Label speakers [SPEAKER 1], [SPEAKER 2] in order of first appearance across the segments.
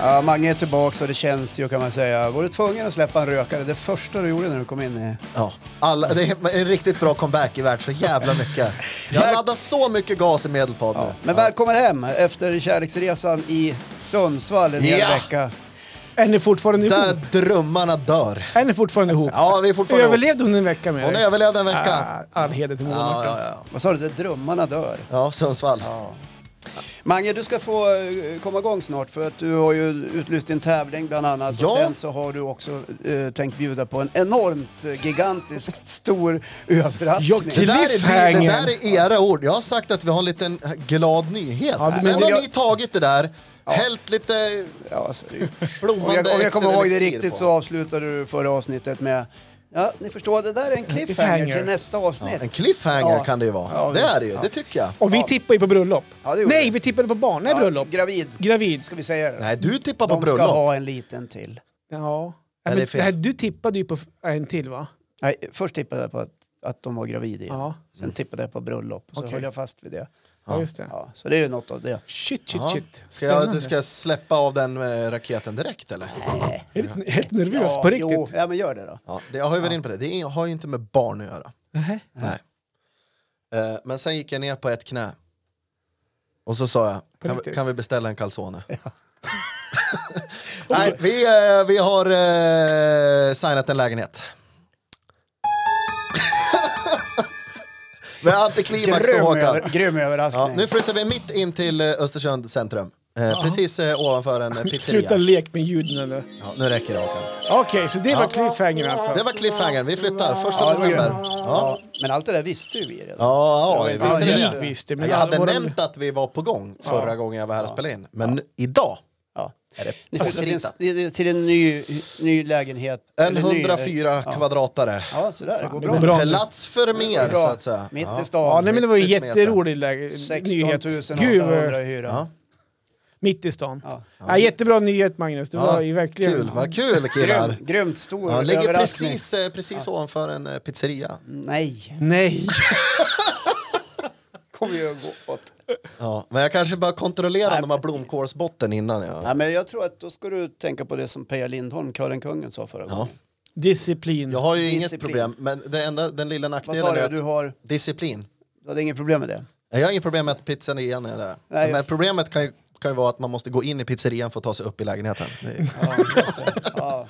[SPEAKER 1] Ja, Mange är tillbaks och det känns ju kan man säga. Var du tvungen att släppa en rökare? Det första du gjorde när du kom in i...
[SPEAKER 2] Ja, alla, det är en riktigt bra comeback i värt så jävla mycket. Jag laddar så mycket gas i Medelpad nu.
[SPEAKER 1] Men välkommen hem efter kärleksresan i Sundsvall en hel
[SPEAKER 2] Ja.
[SPEAKER 1] vecka.
[SPEAKER 3] Är ni fortfarande
[SPEAKER 2] Där
[SPEAKER 3] ihop?
[SPEAKER 2] drömmarna dör.
[SPEAKER 3] Är ni fortfarande ihop?
[SPEAKER 2] Ja, vi är fortfarande ihop.
[SPEAKER 3] Överlevde hon en vecka med
[SPEAKER 2] Hon
[SPEAKER 3] dig?
[SPEAKER 2] överlevde en vecka.
[SPEAKER 3] Ah, all heder till Mona
[SPEAKER 2] Ja, ja,
[SPEAKER 3] Martin.
[SPEAKER 2] ja.
[SPEAKER 1] Vad sa du? Det drömmarna dör.
[SPEAKER 2] ja Sundsvall.
[SPEAKER 1] Mange, du ska få eh, komma igång snart för att du har ju utlyst din tävling bland annat
[SPEAKER 2] Ja.
[SPEAKER 1] och sen så har du också eh, tänkt bjuda på en enormt eh, gigantiskt stor överraskning.
[SPEAKER 2] Det där, är, det
[SPEAKER 3] Cliffhanger.
[SPEAKER 2] där är era ord. Jag har sagt att vi har en liten glad nyhet.
[SPEAKER 3] Ja, men-
[SPEAKER 2] Sen
[SPEAKER 1] men-
[SPEAKER 2] har ni tagit det där, hällt lite
[SPEAKER 1] Ja, alltså, det är ju-
[SPEAKER 2] blommande
[SPEAKER 1] om, jag, om jag kommer ihåg det
[SPEAKER 2] elixir
[SPEAKER 1] riktigt
[SPEAKER 2] på.
[SPEAKER 1] så avslutade du förra avsnittet med Ja, ni förstår, det där är en cliffhanger till nästa avsnitt.
[SPEAKER 2] En cliffhanger
[SPEAKER 1] Ja.
[SPEAKER 2] kan det ju vara.
[SPEAKER 1] Ja,
[SPEAKER 2] det
[SPEAKER 1] visst.
[SPEAKER 2] är det ju, det tycker jag.
[SPEAKER 3] Och vi tippade ju på bröllop.
[SPEAKER 1] Ja, det gjorde
[SPEAKER 3] Nej,
[SPEAKER 1] vi.
[SPEAKER 3] vi tippade på barn. Nej,
[SPEAKER 1] Ja,
[SPEAKER 3] bröllop.
[SPEAKER 1] Gravid.
[SPEAKER 3] Gravid.
[SPEAKER 1] Ska vi säga det?
[SPEAKER 2] Nej, du tippar på
[SPEAKER 1] De ska
[SPEAKER 2] bröllop.
[SPEAKER 1] ha en liten till.
[SPEAKER 3] Ja.
[SPEAKER 2] Är
[SPEAKER 3] Nej,
[SPEAKER 2] det
[SPEAKER 3] men
[SPEAKER 2] fel?
[SPEAKER 3] det här, du tippade ju på f- en till va?
[SPEAKER 1] Nej, först tippade jag på att, att de var gravida. igen.
[SPEAKER 3] Ja.
[SPEAKER 1] Sen tippade jag på bröllop. Så
[SPEAKER 3] Okej.
[SPEAKER 1] höll jag fast vid det.
[SPEAKER 3] Ja, just det.
[SPEAKER 1] Ja, så det är ju något av det.
[SPEAKER 3] Shit, shit,
[SPEAKER 2] Ja.
[SPEAKER 3] shit.
[SPEAKER 2] Ska jag,
[SPEAKER 3] Spännande.
[SPEAKER 2] du ska släppa av den eh, raketen direkt eller?
[SPEAKER 3] Jag är lite- helt nervös alltså, på riktigt.
[SPEAKER 1] Jo, ja, men gör det då.
[SPEAKER 2] Ja, det, jag har ju varit inne på det, det är- har ju inte med barn att göra.
[SPEAKER 3] Nej.
[SPEAKER 2] Nej. Eh, men sen gick jag ner på ett knä. Och så sa jag, kan, vi-
[SPEAKER 3] riktigt?
[SPEAKER 2] kan vi beställa en calzone? Nej, vi, eh, vi har eh, signat en lägenhet. Med antiklimax för
[SPEAKER 1] Grym,
[SPEAKER 2] Håkan.
[SPEAKER 1] över, grym
[SPEAKER 2] Ja,
[SPEAKER 1] överraskning.
[SPEAKER 2] nu flyttar vi mitt in till eh, Östersund centrum. Eh, precis eh, ovanför en eh, pizzeria.
[SPEAKER 3] Sluta lek med ljuden nu.
[SPEAKER 2] Ja, nu räcker det Håkan.
[SPEAKER 3] Okej, så det var cliffhanger alltså.
[SPEAKER 2] Det var cliffhangern, vi flyttar första
[SPEAKER 1] Ja, det var
[SPEAKER 2] december.
[SPEAKER 1] grymt.
[SPEAKER 2] Ja.
[SPEAKER 1] Men allt det där visste ju vi redan.
[SPEAKER 2] Ja, ja,
[SPEAKER 1] Det var
[SPEAKER 2] visste
[SPEAKER 1] inte-
[SPEAKER 2] ni
[SPEAKER 1] Ja,
[SPEAKER 2] det?
[SPEAKER 1] vi
[SPEAKER 3] visste, men
[SPEAKER 2] jag hade
[SPEAKER 3] våra-
[SPEAKER 2] nämnt att vi var på gång förra gången jag var här och spelade in. Men idag
[SPEAKER 1] Ja. Alltså,
[SPEAKER 2] är det
[SPEAKER 1] Ni flyttar till,
[SPEAKER 2] påskritat.
[SPEAKER 1] en- till en ny, ny lägenhet.
[SPEAKER 2] En
[SPEAKER 1] Eller ny-
[SPEAKER 2] 104 kvadratare.
[SPEAKER 1] Ja, sådär. Det går
[SPEAKER 3] det
[SPEAKER 1] bra.
[SPEAKER 3] går bra.
[SPEAKER 2] Plats för mer, så att säga.
[SPEAKER 1] Mitt
[SPEAKER 2] Ja.
[SPEAKER 1] i stan.
[SPEAKER 3] Ja, nej, men det var ju
[SPEAKER 2] Riktigt smetar.
[SPEAKER 3] jätterolig läge,
[SPEAKER 1] 16
[SPEAKER 3] nyhet.
[SPEAKER 1] 800 i hyra.
[SPEAKER 2] Ja.
[SPEAKER 3] mitt i stan.
[SPEAKER 1] Ja.
[SPEAKER 3] Ja. jättebra nyhet Magnus, du
[SPEAKER 2] Ja,
[SPEAKER 3] var ju verkligen...
[SPEAKER 2] Kul, vad kul killar.
[SPEAKER 1] Grym, grymt stor
[SPEAKER 2] Ja, ligger
[SPEAKER 1] överraskning. Mm.
[SPEAKER 2] precis, eh, precis ovanför en eh, pizzeria.
[SPEAKER 1] Nej,
[SPEAKER 3] Nej!
[SPEAKER 1] kommer ju att gå åt.
[SPEAKER 2] Ja, men jag kanske bara kontrollerar om de har blomkålsbotten innan. Ja.
[SPEAKER 1] Nej, men jag tror att då ska du tänka på det som Peja Lindholm, Kören Kungen, sa förra gången.
[SPEAKER 3] Disciplin.
[SPEAKER 2] Jag har ju inget
[SPEAKER 1] Disciplin.
[SPEAKER 2] problem, men det enda, den lilla
[SPEAKER 1] Vad
[SPEAKER 2] nackdelen
[SPEAKER 1] sa
[SPEAKER 2] är
[SPEAKER 1] du?
[SPEAKER 2] att...
[SPEAKER 1] Du, har,
[SPEAKER 2] Disciplin.
[SPEAKER 1] du hade inget problem med det?
[SPEAKER 2] Jag har inget problem med att pizzerian är där.
[SPEAKER 1] Nej,
[SPEAKER 2] men
[SPEAKER 1] just.
[SPEAKER 2] problemet kan ju, kan ju vara att man måste gå in i pizzerian för att ta sig upp i lägenheten. Det är...
[SPEAKER 1] Ja, just det. Ja.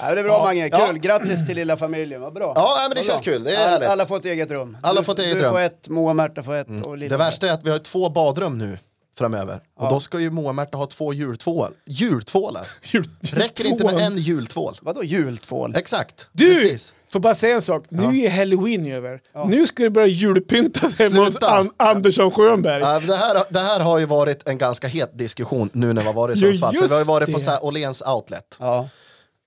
[SPEAKER 1] Ja, det är bra Mange, kul.
[SPEAKER 2] Ja.
[SPEAKER 1] Grattis till lilla familjen, vad bra.
[SPEAKER 2] Ja, men det
[SPEAKER 1] Vad
[SPEAKER 2] känns
[SPEAKER 1] bra.
[SPEAKER 2] kul. Det är
[SPEAKER 1] alla,
[SPEAKER 2] härligt.
[SPEAKER 1] alla får ett eget rum.
[SPEAKER 2] Alla
[SPEAKER 1] du,
[SPEAKER 2] får ett eget
[SPEAKER 1] du
[SPEAKER 2] rum. Mm.
[SPEAKER 1] får ett, Moa och Märta får ett. Och lilla
[SPEAKER 2] Det värsta är att vi har två badrum nu framöver. Och då ska ju Moa och Märta ha två jultvål. Jultvålar.
[SPEAKER 3] Jul-
[SPEAKER 2] Räcker det inte med
[SPEAKER 3] jultvålen.
[SPEAKER 2] en jultvål?
[SPEAKER 1] Vadå jultvål?
[SPEAKER 2] Exakt.
[SPEAKER 3] Du!
[SPEAKER 2] Precis.
[SPEAKER 3] Får bara säga en sak, nu är halloween över. Nu ska det börja julpyntas hemma hos
[SPEAKER 2] Sluta.
[SPEAKER 3] An Andersson Schönberg.
[SPEAKER 2] Ja, Det här, det här har ju varit en ganska het diskussion nu när vi har varit i
[SPEAKER 3] Ja,
[SPEAKER 2] Sundsvall. För vi har ju
[SPEAKER 3] just
[SPEAKER 2] varit på
[SPEAKER 3] det.
[SPEAKER 2] så här Åhléns outlet.
[SPEAKER 1] Ja.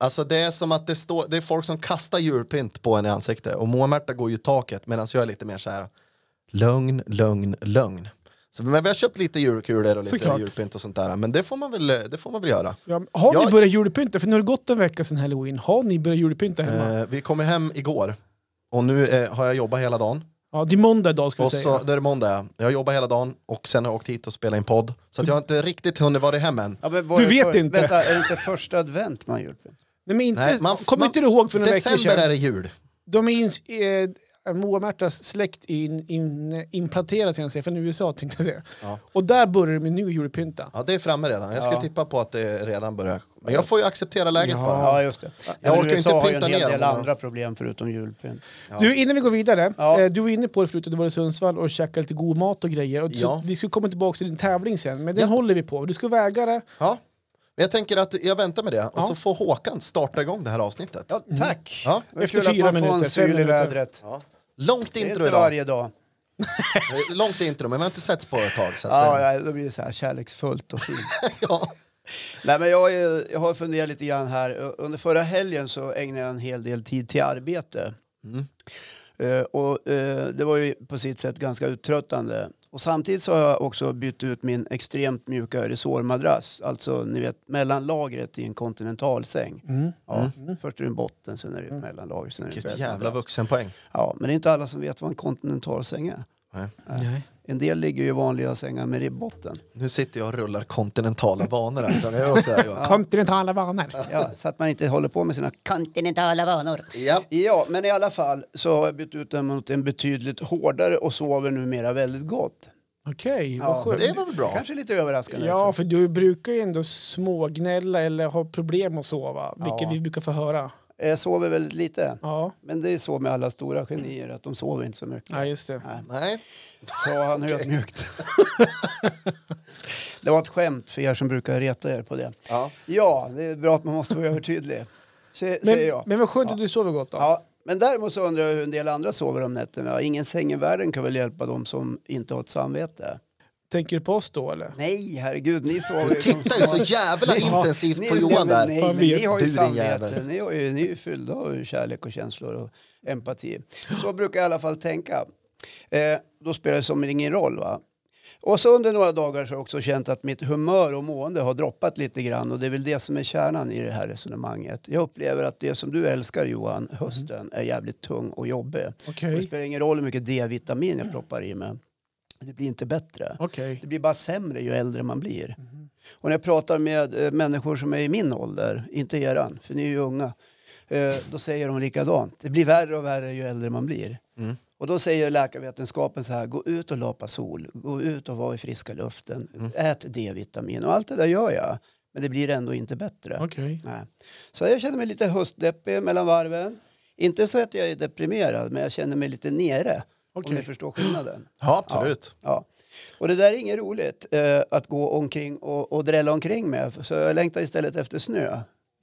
[SPEAKER 2] Alltså det är som att det, står, det är folk som kastar julpynt på en i ansiktet och Moa och Märta går ju i taket medan jag är lite mer så här lugn, lugn, lugn. Så, men vi har köpt lite julkulor och lite
[SPEAKER 3] Såklart.
[SPEAKER 2] julpynt och sånt där. Men det får man väl, eh, det får man väl göra.
[SPEAKER 3] Ja, har
[SPEAKER 2] Jag-
[SPEAKER 3] ni börjat julpynta? För nu har det gått en vecka sedan halloween. Har ni börjat julpynta hemma?
[SPEAKER 2] Eh, vi kom hem igår och nu eh, har jag jobbat hela dagen.
[SPEAKER 3] Ja, det är måndag idag ska vi
[SPEAKER 2] Och
[SPEAKER 3] säga.
[SPEAKER 2] så, det är måndag, jag har jobbat hela dagen och sen har jag åkt hit och spelat in podd. Så att jag har inte riktigt hunnit vara hem än.
[SPEAKER 1] Ja, men var
[SPEAKER 3] Du
[SPEAKER 1] det
[SPEAKER 3] vet
[SPEAKER 1] för-
[SPEAKER 3] inte.
[SPEAKER 1] Vänta, är det inte första advent man har julpynt?
[SPEAKER 3] Nej, men inte,
[SPEAKER 2] Nej, man-
[SPEAKER 3] kommer
[SPEAKER 2] man-
[SPEAKER 3] inte du ihåg för några veckor
[SPEAKER 2] December
[SPEAKER 3] sedan?
[SPEAKER 2] är det jul.
[SPEAKER 3] De är ins- eh, Moa och Märtas släkt är in, in, implanterat kan jag säga, från USA tänkte jag säga. Och där börjar de med nu julpynta.
[SPEAKER 2] Ja, det är framme redan. Jag skulle tippa på att det redan börjar. Men jag får ju acceptera läget bara.
[SPEAKER 1] Ja, just det.
[SPEAKER 2] Jag
[SPEAKER 1] Men
[SPEAKER 2] orkar ju
[SPEAKER 1] USA
[SPEAKER 2] inte
[SPEAKER 1] har ju en
[SPEAKER 2] pynta
[SPEAKER 1] hel
[SPEAKER 2] ner
[SPEAKER 1] del
[SPEAKER 2] dem.
[SPEAKER 1] andra problem förutom julpynt.
[SPEAKER 3] Du, innan vi går vidare,
[SPEAKER 1] Ja.
[SPEAKER 3] eh, du var inne på det förut att du var i Sundsvall och käkade lite god mat och grejer. Och så-
[SPEAKER 2] Ja.
[SPEAKER 3] Vi skulle komma tillbaka till din tävling sen, men den
[SPEAKER 2] Ja.
[SPEAKER 3] håller vi på. Du ska väga det.
[SPEAKER 1] Mm.
[SPEAKER 2] Ja. Men jag tänker att jag väntar med det och
[SPEAKER 3] Ja.
[SPEAKER 2] så får Håkan starta igång det här avsnittet. Mm.
[SPEAKER 1] Ja, tack!
[SPEAKER 2] Ja.
[SPEAKER 1] Vad
[SPEAKER 3] Efter
[SPEAKER 1] kul att
[SPEAKER 3] fyra
[SPEAKER 1] man får
[SPEAKER 3] minuter,
[SPEAKER 1] en
[SPEAKER 3] fem
[SPEAKER 1] syl i
[SPEAKER 3] minuter.
[SPEAKER 1] vädret.
[SPEAKER 2] Långt
[SPEAKER 1] Det är
[SPEAKER 2] intro
[SPEAKER 1] inte
[SPEAKER 2] idag.
[SPEAKER 1] varje dag.
[SPEAKER 2] Eh, Långt intro, men vi har inte sett på ett tag. Så att,
[SPEAKER 1] Ja,
[SPEAKER 2] eh,
[SPEAKER 1] ja, då blir det så här kärleksfullt och fint.
[SPEAKER 2] ja.
[SPEAKER 1] Nej, men jag, är- jag har funderat lite grann här. Under förra helgen så ägnade jag en hel del tid till arbete. Eh, och, eh, det var ju på sitt sätt ganska uttröttande. Och samtidigt så har jag också bytt ut min extremt mjuka resårmadrass. Alltså ni vet mellanlagret i en kontinentalsäng. Ja, Först är det en botten, sen är det ett mellanlager, sen är det ett
[SPEAKER 2] Vilket
[SPEAKER 1] bäddmadrass.
[SPEAKER 2] jävla vuxenpoäng.
[SPEAKER 1] Ja, men det är inte alla som vet vad en kontinentalsäng är.
[SPEAKER 2] Nej.
[SPEAKER 4] Nej.
[SPEAKER 1] En del ligger ju i vanliga sängar med ribbotten.
[SPEAKER 2] Nu sitter jag och rullar kontinentala vanor här. utan jag gör så här, Johan.
[SPEAKER 3] Kontinentala vanor.
[SPEAKER 1] Ja, så att man inte håller på med sina kontinentala vanor.
[SPEAKER 2] Ja.
[SPEAKER 1] Ja, men i alla fall så har jag bytt ut den mot en betydligt hårdare och sover numera väldigt gott.
[SPEAKER 3] Okej,
[SPEAKER 1] Ja,
[SPEAKER 3] vad skönt.
[SPEAKER 2] Det var väl bra?
[SPEAKER 1] Kanske lite överraskande.
[SPEAKER 3] Ja, för du brukar ju ändå smågnälla eller ha problem att sova, vilket
[SPEAKER 1] Ja.
[SPEAKER 3] vi brukar få höra.
[SPEAKER 1] för jag sover väldigt lite.
[SPEAKER 3] Ja,
[SPEAKER 1] Men det är så med alla stora genier att de sover inte så mycket.
[SPEAKER 3] ja just det.
[SPEAKER 2] Nej.
[SPEAKER 1] Så han ödmjukt. det var ett skämt för er som brukar reta er på det.
[SPEAKER 2] Ja.
[SPEAKER 1] Ja, det är bra att man måste vara övertydlig. Se,
[SPEAKER 3] Men,
[SPEAKER 1] säger jag.
[SPEAKER 3] men vad skönt att du sover gott då.
[SPEAKER 1] Ja, men däremot så undrar jag hur en del andra sover om nätterna. Ingen säng i världen kan väl hjälpa dem som inte har ett samvete?
[SPEAKER 3] Tänker du på oss då eller?
[SPEAKER 1] Nej, herregud, ni sover ju som
[SPEAKER 2] Tittar ju så
[SPEAKER 1] fan.
[SPEAKER 2] jävla intensivt på
[SPEAKER 1] nej,
[SPEAKER 2] Johan
[SPEAKER 1] men
[SPEAKER 2] där.
[SPEAKER 1] Nej,
[SPEAKER 3] Vad
[SPEAKER 1] men
[SPEAKER 3] vet
[SPEAKER 1] ni har ju
[SPEAKER 2] du, din
[SPEAKER 1] samvete.
[SPEAKER 2] jävel?
[SPEAKER 1] Ni, har ju, ni är ju fyllda av kärlek och känslor och empati. Så brukar jag i alla fall tänka. Eh, då spelar det som ingen roll. va? Och så under några dagar så har jag också känt att mitt humör och mående har droppat lite grann och det är väl det som är kärnan i det här resonemanget. Jag upplever att det som du älskar Johan, hösten, är jävligt tung och jobbig.
[SPEAKER 3] Okej.
[SPEAKER 1] Det spelar ingen roll hur mycket D-vitamin jag proppar i mig. Det blir inte bättre.
[SPEAKER 3] Okej.
[SPEAKER 1] Det blir bara sämre ju äldre man blir.
[SPEAKER 3] Mhm.
[SPEAKER 1] Och när jag pratar med eh, människor som är i min ålder, inte eran, för ni är ju unga, eh, då säger de likadant. Det blir värre och värre ju äldre man blir.
[SPEAKER 3] Mm.
[SPEAKER 1] Och då säger läkarvetenskapen så här, gå ut och lapa sol, gå ut och vara i friska luften,
[SPEAKER 3] Mm.
[SPEAKER 1] ät D-vitamin och allt det där gör jag. Men det blir ändå inte bättre.
[SPEAKER 3] Okej.
[SPEAKER 1] Nej. Så jag känner mig lite höstdeppig mellan varven. Inte så att jag är deprimerad, men jag känner mig lite nere. Om
[SPEAKER 3] Okej.
[SPEAKER 1] ni förstår skillnaden.
[SPEAKER 2] Ja, absolut.
[SPEAKER 1] Ja. Och det där är inget roligt eh, att gå omkring och, och drälla omkring med. Så jag längtar istället efter snö.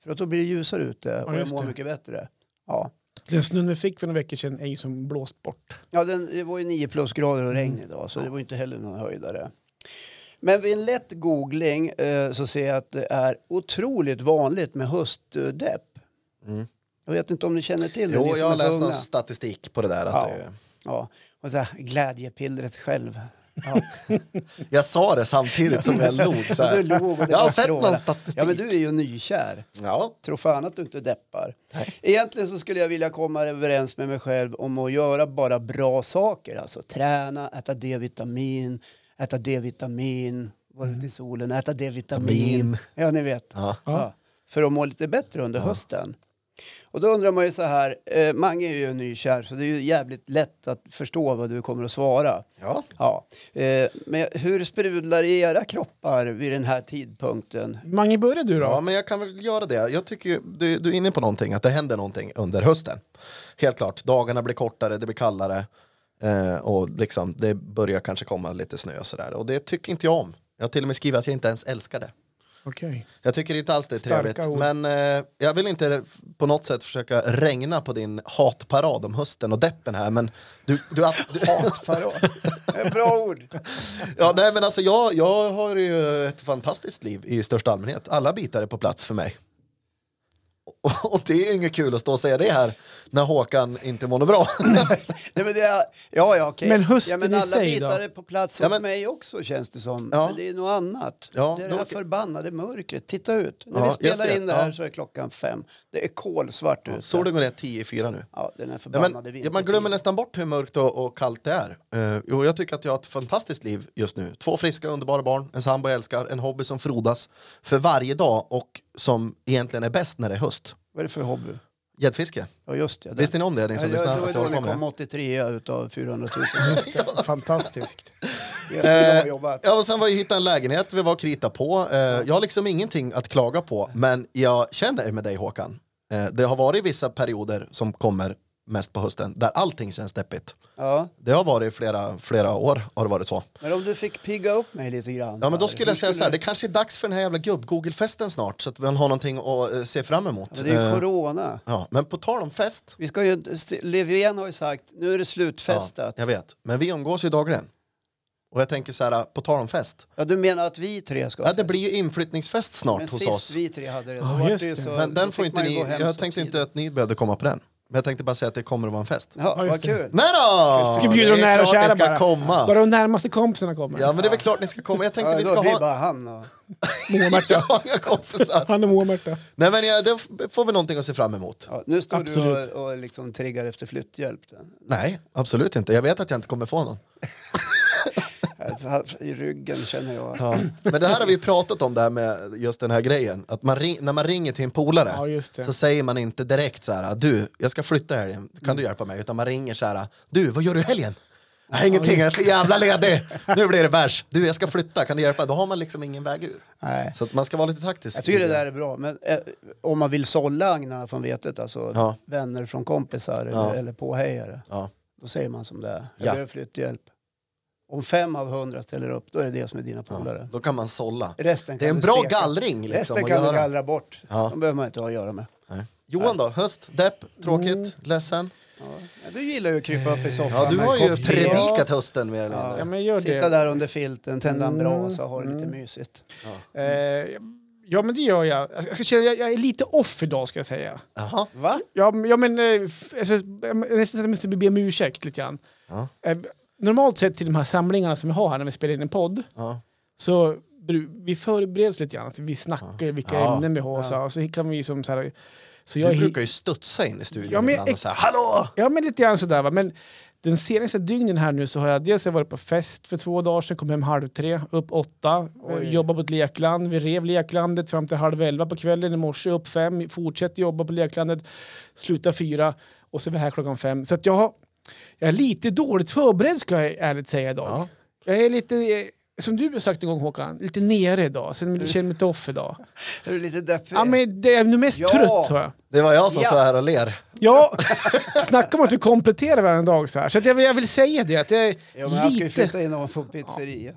[SPEAKER 1] För att då blir det ljusare ute och jag
[SPEAKER 3] just
[SPEAKER 1] mår
[SPEAKER 3] det.
[SPEAKER 1] mycket bättre. Ja.
[SPEAKER 3] Den snön vi fick för några veckor sedan är ju som blåst bort.
[SPEAKER 1] Ja, den, det var ju 9 plusgrader och regn
[SPEAKER 2] Mm.
[SPEAKER 1] idag så det var ju inte heller någon höjdare. Men vid en lätt googling eh, så ser jag att det är otroligt vanligt med höstdepp.
[SPEAKER 2] Mm.
[SPEAKER 1] Jag vet inte om ni känner till det, ni
[SPEAKER 2] Jo,
[SPEAKER 1] som
[SPEAKER 2] jag har
[SPEAKER 1] är så
[SPEAKER 2] läst
[SPEAKER 1] unga.
[SPEAKER 2] någon statistik på det där. Att
[SPEAKER 1] Ja.
[SPEAKER 2] det,
[SPEAKER 1] Ja. Och så här, glädjepillret själv. Ja.
[SPEAKER 2] jag sa det samtidigt som jag log. Så
[SPEAKER 1] Och
[SPEAKER 2] här.
[SPEAKER 1] du log och Alltså, det
[SPEAKER 2] jag har
[SPEAKER 1] var
[SPEAKER 2] sett
[SPEAKER 1] strålar.
[SPEAKER 2] någon statistik.
[SPEAKER 1] Ja, men du är ju nykär.
[SPEAKER 2] Ja.
[SPEAKER 1] Tro fan att du inte deppar. Egentligen så skulle jag vilja komma överens med mig själv om att göra bara bra saker. Alltså träna, äta D-vitamin, äta D-vitamin, vara ute i solen, äta D-vitamin.
[SPEAKER 2] Mm. Vitamin.
[SPEAKER 1] Ja, ni vet.
[SPEAKER 2] Ja.
[SPEAKER 1] Ja. För att må lite bättre under hösten. Och då undrar man ju så här, eh, Mange är ju nykär så det är ju jävligt lätt att förstå vad du kommer att svara.
[SPEAKER 2] Ja.
[SPEAKER 1] Ja. Eh, men hur sprudlar era kroppar vid den här tidpunkten?
[SPEAKER 3] Mange, börja du då.
[SPEAKER 2] ja, men jag kan väl göra det. Jag tycker ju, du, du är inne på någonting, att det händer någonting under hösten. Helt klart, dagarna blir kortare, det blir kallare eh, och liksom, det börjar kanske komma lite snö och sådär. Och det tycker inte jag om. Jag har till och med skrivit att jag inte ens älskar det.
[SPEAKER 3] Okej.
[SPEAKER 2] Jag tycker inte alls det är
[SPEAKER 3] Starka
[SPEAKER 2] trevligt.
[SPEAKER 3] ord.
[SPEAKER 2] Men eh, jag vill inte på något sätt försöka regna på din hatparad om hösten och deppen här. Men du, du, att- du,
[SPEAKER 1] Farao. Bra ord!
[SPEAKER 2] ja, nej, men alltså, jag, jag har ju ett fantastiskt liv i största allmänhet. Alla bitar är på plats för mig. Och, och det är inget kul att stå och säga det här när Håkan inte mår något bra.
[SPEAKER 1] Mm. Nej, men det är, ja, ja, okej.
[SPEAKER 3] Men hösten
[SPEAKER 1] ja, men
[SPEAKER 3] i
[SPEAKER 1] alla
[SPEAKER 3] sig
[SPEAKER 1] bitar
[SPEAKER 3] då?
[SPEAKER 1] är på plats hos
[SPEAKER 2] Ja, men-
[SPEAKER 1] mig också känns det som.
[SPEAKER 2] Ja.
[SPEAKER 1] Men det är något annat.
[SPEAKER 2] Ja,
[SPEAKER 1] det är
[SPEAKER 2] då-
[SPEAKER 1] det här förbannade mörkret. Titta ut. När
[SPEAKER 2] Ja,
[SPEAKER 1] vi
[SPEAKER 2] jag
[SPEAKER 1] spelar
[SPEAKER 2] ser.
[SPEAKER 1] in det här
[SPEAKER 2] Ja.
[SPEAKER 1] så är klockan fem. Det är kolsvart ute.
[SPEAKER 2] Solen går ner 10 i 4 nu.
[SPEAKER 1] Ja, den här
[SPEAKER 2] Ja,
[SPEAKER 1] förbannade
[SPEAKER 2] men, ja, man glömmer nästan bort hur mörkt och, och kallt det är. Eh, jo, jag tycker att jag har ett fantastiskt liv just nu. Två friska, underbara barn, en sambo jag älskar, en hobby som frodas för varje dag och som egentligen är bäst när det är höst.
[SPEAKER 1] Vad är det för hobby?
[SPEAKER 2] Gäddfiske.
[SPEAKER 1] Ja, just det. den.
[SPEAKER 2] Visste ni om det, ni som
[SPEAKER 1] Ja,
[SPEAKER 2] lyssnar?
[SPEAKER 1] jag tror
[SPEAKER 2] att
[SPEAKER 1] det
[SPEAKER 2] jag
[SPEAKER 1] var då
[SPEAKER 2] håller
[SPEAKER 1] ni
[SPEAKER 2] på
[SPEAKER 1] kom
[SPEAKER 2] med
[SPEAKER 1] 83 utav 400 000.
[SPEAKER 3] Fantastiskt.
[SPEAKER 1] Jag skulle ha
[SPEAKER 2] det? Eh,
[SPEAKER 1] jobbat.
[SPEAKER 2] ja, och sen var jag hittade en lägenhet, vi var och krita på. Eh, jag har liksom ingenting att klaga på, men jag känner med dig Håkan. Eh, det har varit vissa perioder som kommer mest på hösten, där allting känns deppigt.
[SPEAKER 1] Ja.
[SPEAKER 2] Det har varit flera, flera år, har det varit så.
[SPEAKER 1] Men om du fick pigga upp mig lite grann.
[SPEAKER 2] Ja men då
[SPEAKER 1] så här,
[SPEAKER 2] skulle jag
[SPEAKER 1] hur
[SPEAKER 2] säga så här, det kanske är dags för den här jävla gubb-Google-festen snart så att man har någonting att eh, se fram emot.
[SPEAKER 1] Ja, det är ju
[SPEAKER 2] Eh,
[SPEAKER 1] corona.
[SPEAKER 2] ja, men på tal om fest,
[SPEAKER 1] Vi ska ju... St- Löfven har ju sagt, nu är det slutfestat. Ja.
[SPEAKER 2] jag vet, men vi umgås ju dagligen. Och jag tänker så här, på tal om fest,
[SPEAKER 1] du menar att vi tre ska ha
[SPEAKER 2] ja, det blir ju inflyttningsfest snart
[SPEAKER 1] Men
[SPEAKER 2] hos
[SPEAKER 1] sist
[SPEAKER 2] oss.
[SPEAKER 1] vi tre hade det, då
[SPEAKER 3] Ja,
[SPEAKER 1] var
[SPEAKER 3] just
[SPEAKER 1] det ju
[SPEAKER 3] det.
[SPEAKER 1] så,
[SPEAKER 2] Men
[SPEAKER 1] då
[SPEAKER 2] den
[SPEAKER 1] fick
[SPEAKER 2] får inte
[SPEAKER 1] man ju
[SPEAKER 2] ni,
[SPEAKER 1] gå hem
[SPEAKER 2] jag
[SPEAKER 1] så
[SPEAKER 2] tänkte
[SPEAKER 1] tidigt.
[SPEAKER 2] inte att ni behövde komma på den. Men jag tänkte bara säga att det kommer att vara en fest.
[SPEAKER 1] Ja,
[SPEAKER 3] Ja,
[SPEAKER 1] vad
[SPEAKER 3] just det.
[SPEAKER 1] kul.
[SPEAKER 2] Nej då!
[SPEAKER 3] Ska bjuda de
[SPEAKER 2] Det är
[SPEAKER 3] nära och
[SPEAKER 2] klart ni
[SPEAKER 3] kära
[SPEAKER 2] ska
[SPEAKER 3] bara.
[SPEAKER 2] komma.
[SPEAKER 3] Bara de närmaste kompisarna kommer.
[SPEAKER 2] Ja men det är väl klart ni ska komma. Jag tänkte
[SPEAKER 1] Ja,
[SPEAKER 2] vi
[SPEAKER 1] då
[SPEAKER 2] ska
[SPEAKER 1] blir det
[SPEAKER 2] ha...
[SPEAKER 1] bara han och...
[SPEAKER 2] Jag har inga kompisar.
[SPEAKER 3] Han och Moa-Märta.
[SPEAKER 2] Nej men ja, det f- får vi någonting att se fram emot.
[SPEAKER 1] Ja, nu står
[SPEAKER 3] Absolut.
[SPEAKER 1] du och, och liksom triggar efter flytthjälp.
[SPEAKER 2] Nej, absolut inte. Jag vet att jag inte kommer få någon.
[SPEAKER 1] Alltså, I ryggen känner jag.
[SPEAKER 2] Men det här har vi ju pratat om, det här med just den här grejen. Att man ring, när man ringer till en polare
[SPEAKER 3] Ja, just det.
[SPEAKER 2] så säger man inte direkt så här, "Ah, du, jag ska flytta i helgen, kan du hjälpa mig? Utan man ringer så här, du, vad gör du i helgen? Nej, ingenting, jag är så jävla ledig. Nu blir det bärs. Du, jag ska flytta, kan du hjälpa? Då har man liksom ingen väg ur.
[SPEAKER 1] Nej.
[SPEAKER 2] Så att man ska vara lite taktisk.
[SPEAKER 1] Jag tycker det där är bra, men eh, om man vill sålla agnarna från vetet, alltså
[SPEAKER 2] Ja.
[SPEAKER 1] vänner från kompisar eller, eller påhejare,
[SPEAKER 2] Ja.
[SPEAKER 1] då säger man som det är. Jag
[SPEAKER 2] Ja.
[SPEAKER 1] behöver flytthjälp. Om fem av hundra ställer upp, då är det det som är dina polare.
[SPEAKER 2] Då kan man sålla.
[SPEAKER 1] Resten
[SPEAKER 2] Det är
[SPEAKER 1] kan
[SPEAKER 2] en
[SPEAKER 1] du
[SPEAKER 2] bra
[SPEAKER 1] steka.
[SPEAKER 2] gallring. Liksom,
[SPEAKER 1] Resten
[SPEAKER 2] att
[SPEAKER 1] kan du
[SPEAKER 2] göra.
[SPEAKER 1] gallra bort.
[SPEAKER 2] Ja.
[SPEAKER 1] De behöver man inte ha att göra med.
[SPEAKER 2] Nej. Johan då? Höst, depp, tråkigt, ledsen?
[SPEAKER 1] Ja, du gillar ju att krypa upp i soffan
[SPEAKER 2] Ja, du
[SPEAKER 1] med en
[SPEAKER 2] har ju
[SPEAKER 1] kopp te.
[SPEAKER 2] predikat hösten mer eller
[SPEAKER 3] Ja,
[SPEAKER 2] mindre.
[SPEAKER 3] men gör
[SPEAKER 1] Sitta
[SPEAKER 3] det. Mm.
[SPEAKER 1] där under filten, tända en brasa och ha det lite mysigt.
[SPEAKER 3] Eh, ja, men det gör jag. Jag, ska känna, jag. jag är lite off idag, ska jag säga.
[SPEAKER 2] Jaha.
[SPEAKER 1] Va?
[SPEAKER 3] Ja, men- ja men... eh, f- Alltså, jag nästan så att jag måste be om ursäkt lite grann.
[SPEAKER 2] Ja.
[SPEAKER 3] Eh, normalt sett till de här samlingarna som vi har här när vi spelar in en podd
[SPEAKER 2] Ja.
[SPEAKER 3] så bru- vi förbereder oss lite grann. Alltså, vi snackar vilka
[SPEAKER 2] Ja.
[SPEAKER 3] ämnen vi har och så, här, och så kan vi som så här... Så
[SPEAKER 2] Du
[SPEAKER 3] jag är-
[SPEAKER 2] brukar ju studsa in i studion
[SPEAKER 3] Ja, men
[SPEAKER 2] ibland och
[SPEAKER 3] ex-
[SPEAKER 2] säga hallå!
[SPEAKER 3] Ja, men lite grann sådär. Va? Men den senaste dygnen här nu så har jag dels jag varit på fest för två dagar sedan, kom hem halv tre, upp åtta,
[SPEAKER 1] Oj.
[SPEAKER 3] eh, jobbade på ett lekland, vi rev leklandet fram till halv elva på kvällen, i morse upp fem, fortsätter jobba på leklandet, slutar fyra och så är vi här klockan fem. Så att jag, har- jag är lite dåligt förberedd ska jag ärligt säga idag.
[SPEAKER 2] Ja.
[SPEAKER 3] Jag är lite, eh, som du har sagt en gång Håkan, lite nere idag, så jag känner mig lite off idag.
[SPEAKER 1] Är du lite deppig?
[SPEAKER 3] Ja, men det är nog mest
[SPEAKER 1] Ja.
[SPEAKER 3] trött tror jag.
[SPEAKER 2] Det var jag som
[SPEAKER 1] Ja.
[SPEAKER 2] står här och ler.
[SPEAKER 3] Ja, snacka om att vi kompletterar varje dag så här. Så att jag, jag vill säga det, att jag är
[SPEAKER 1] Ja, men han ska ju
[SPEAKER 3] lite...
[SPEAKER 1] flytta in och få pizzeria.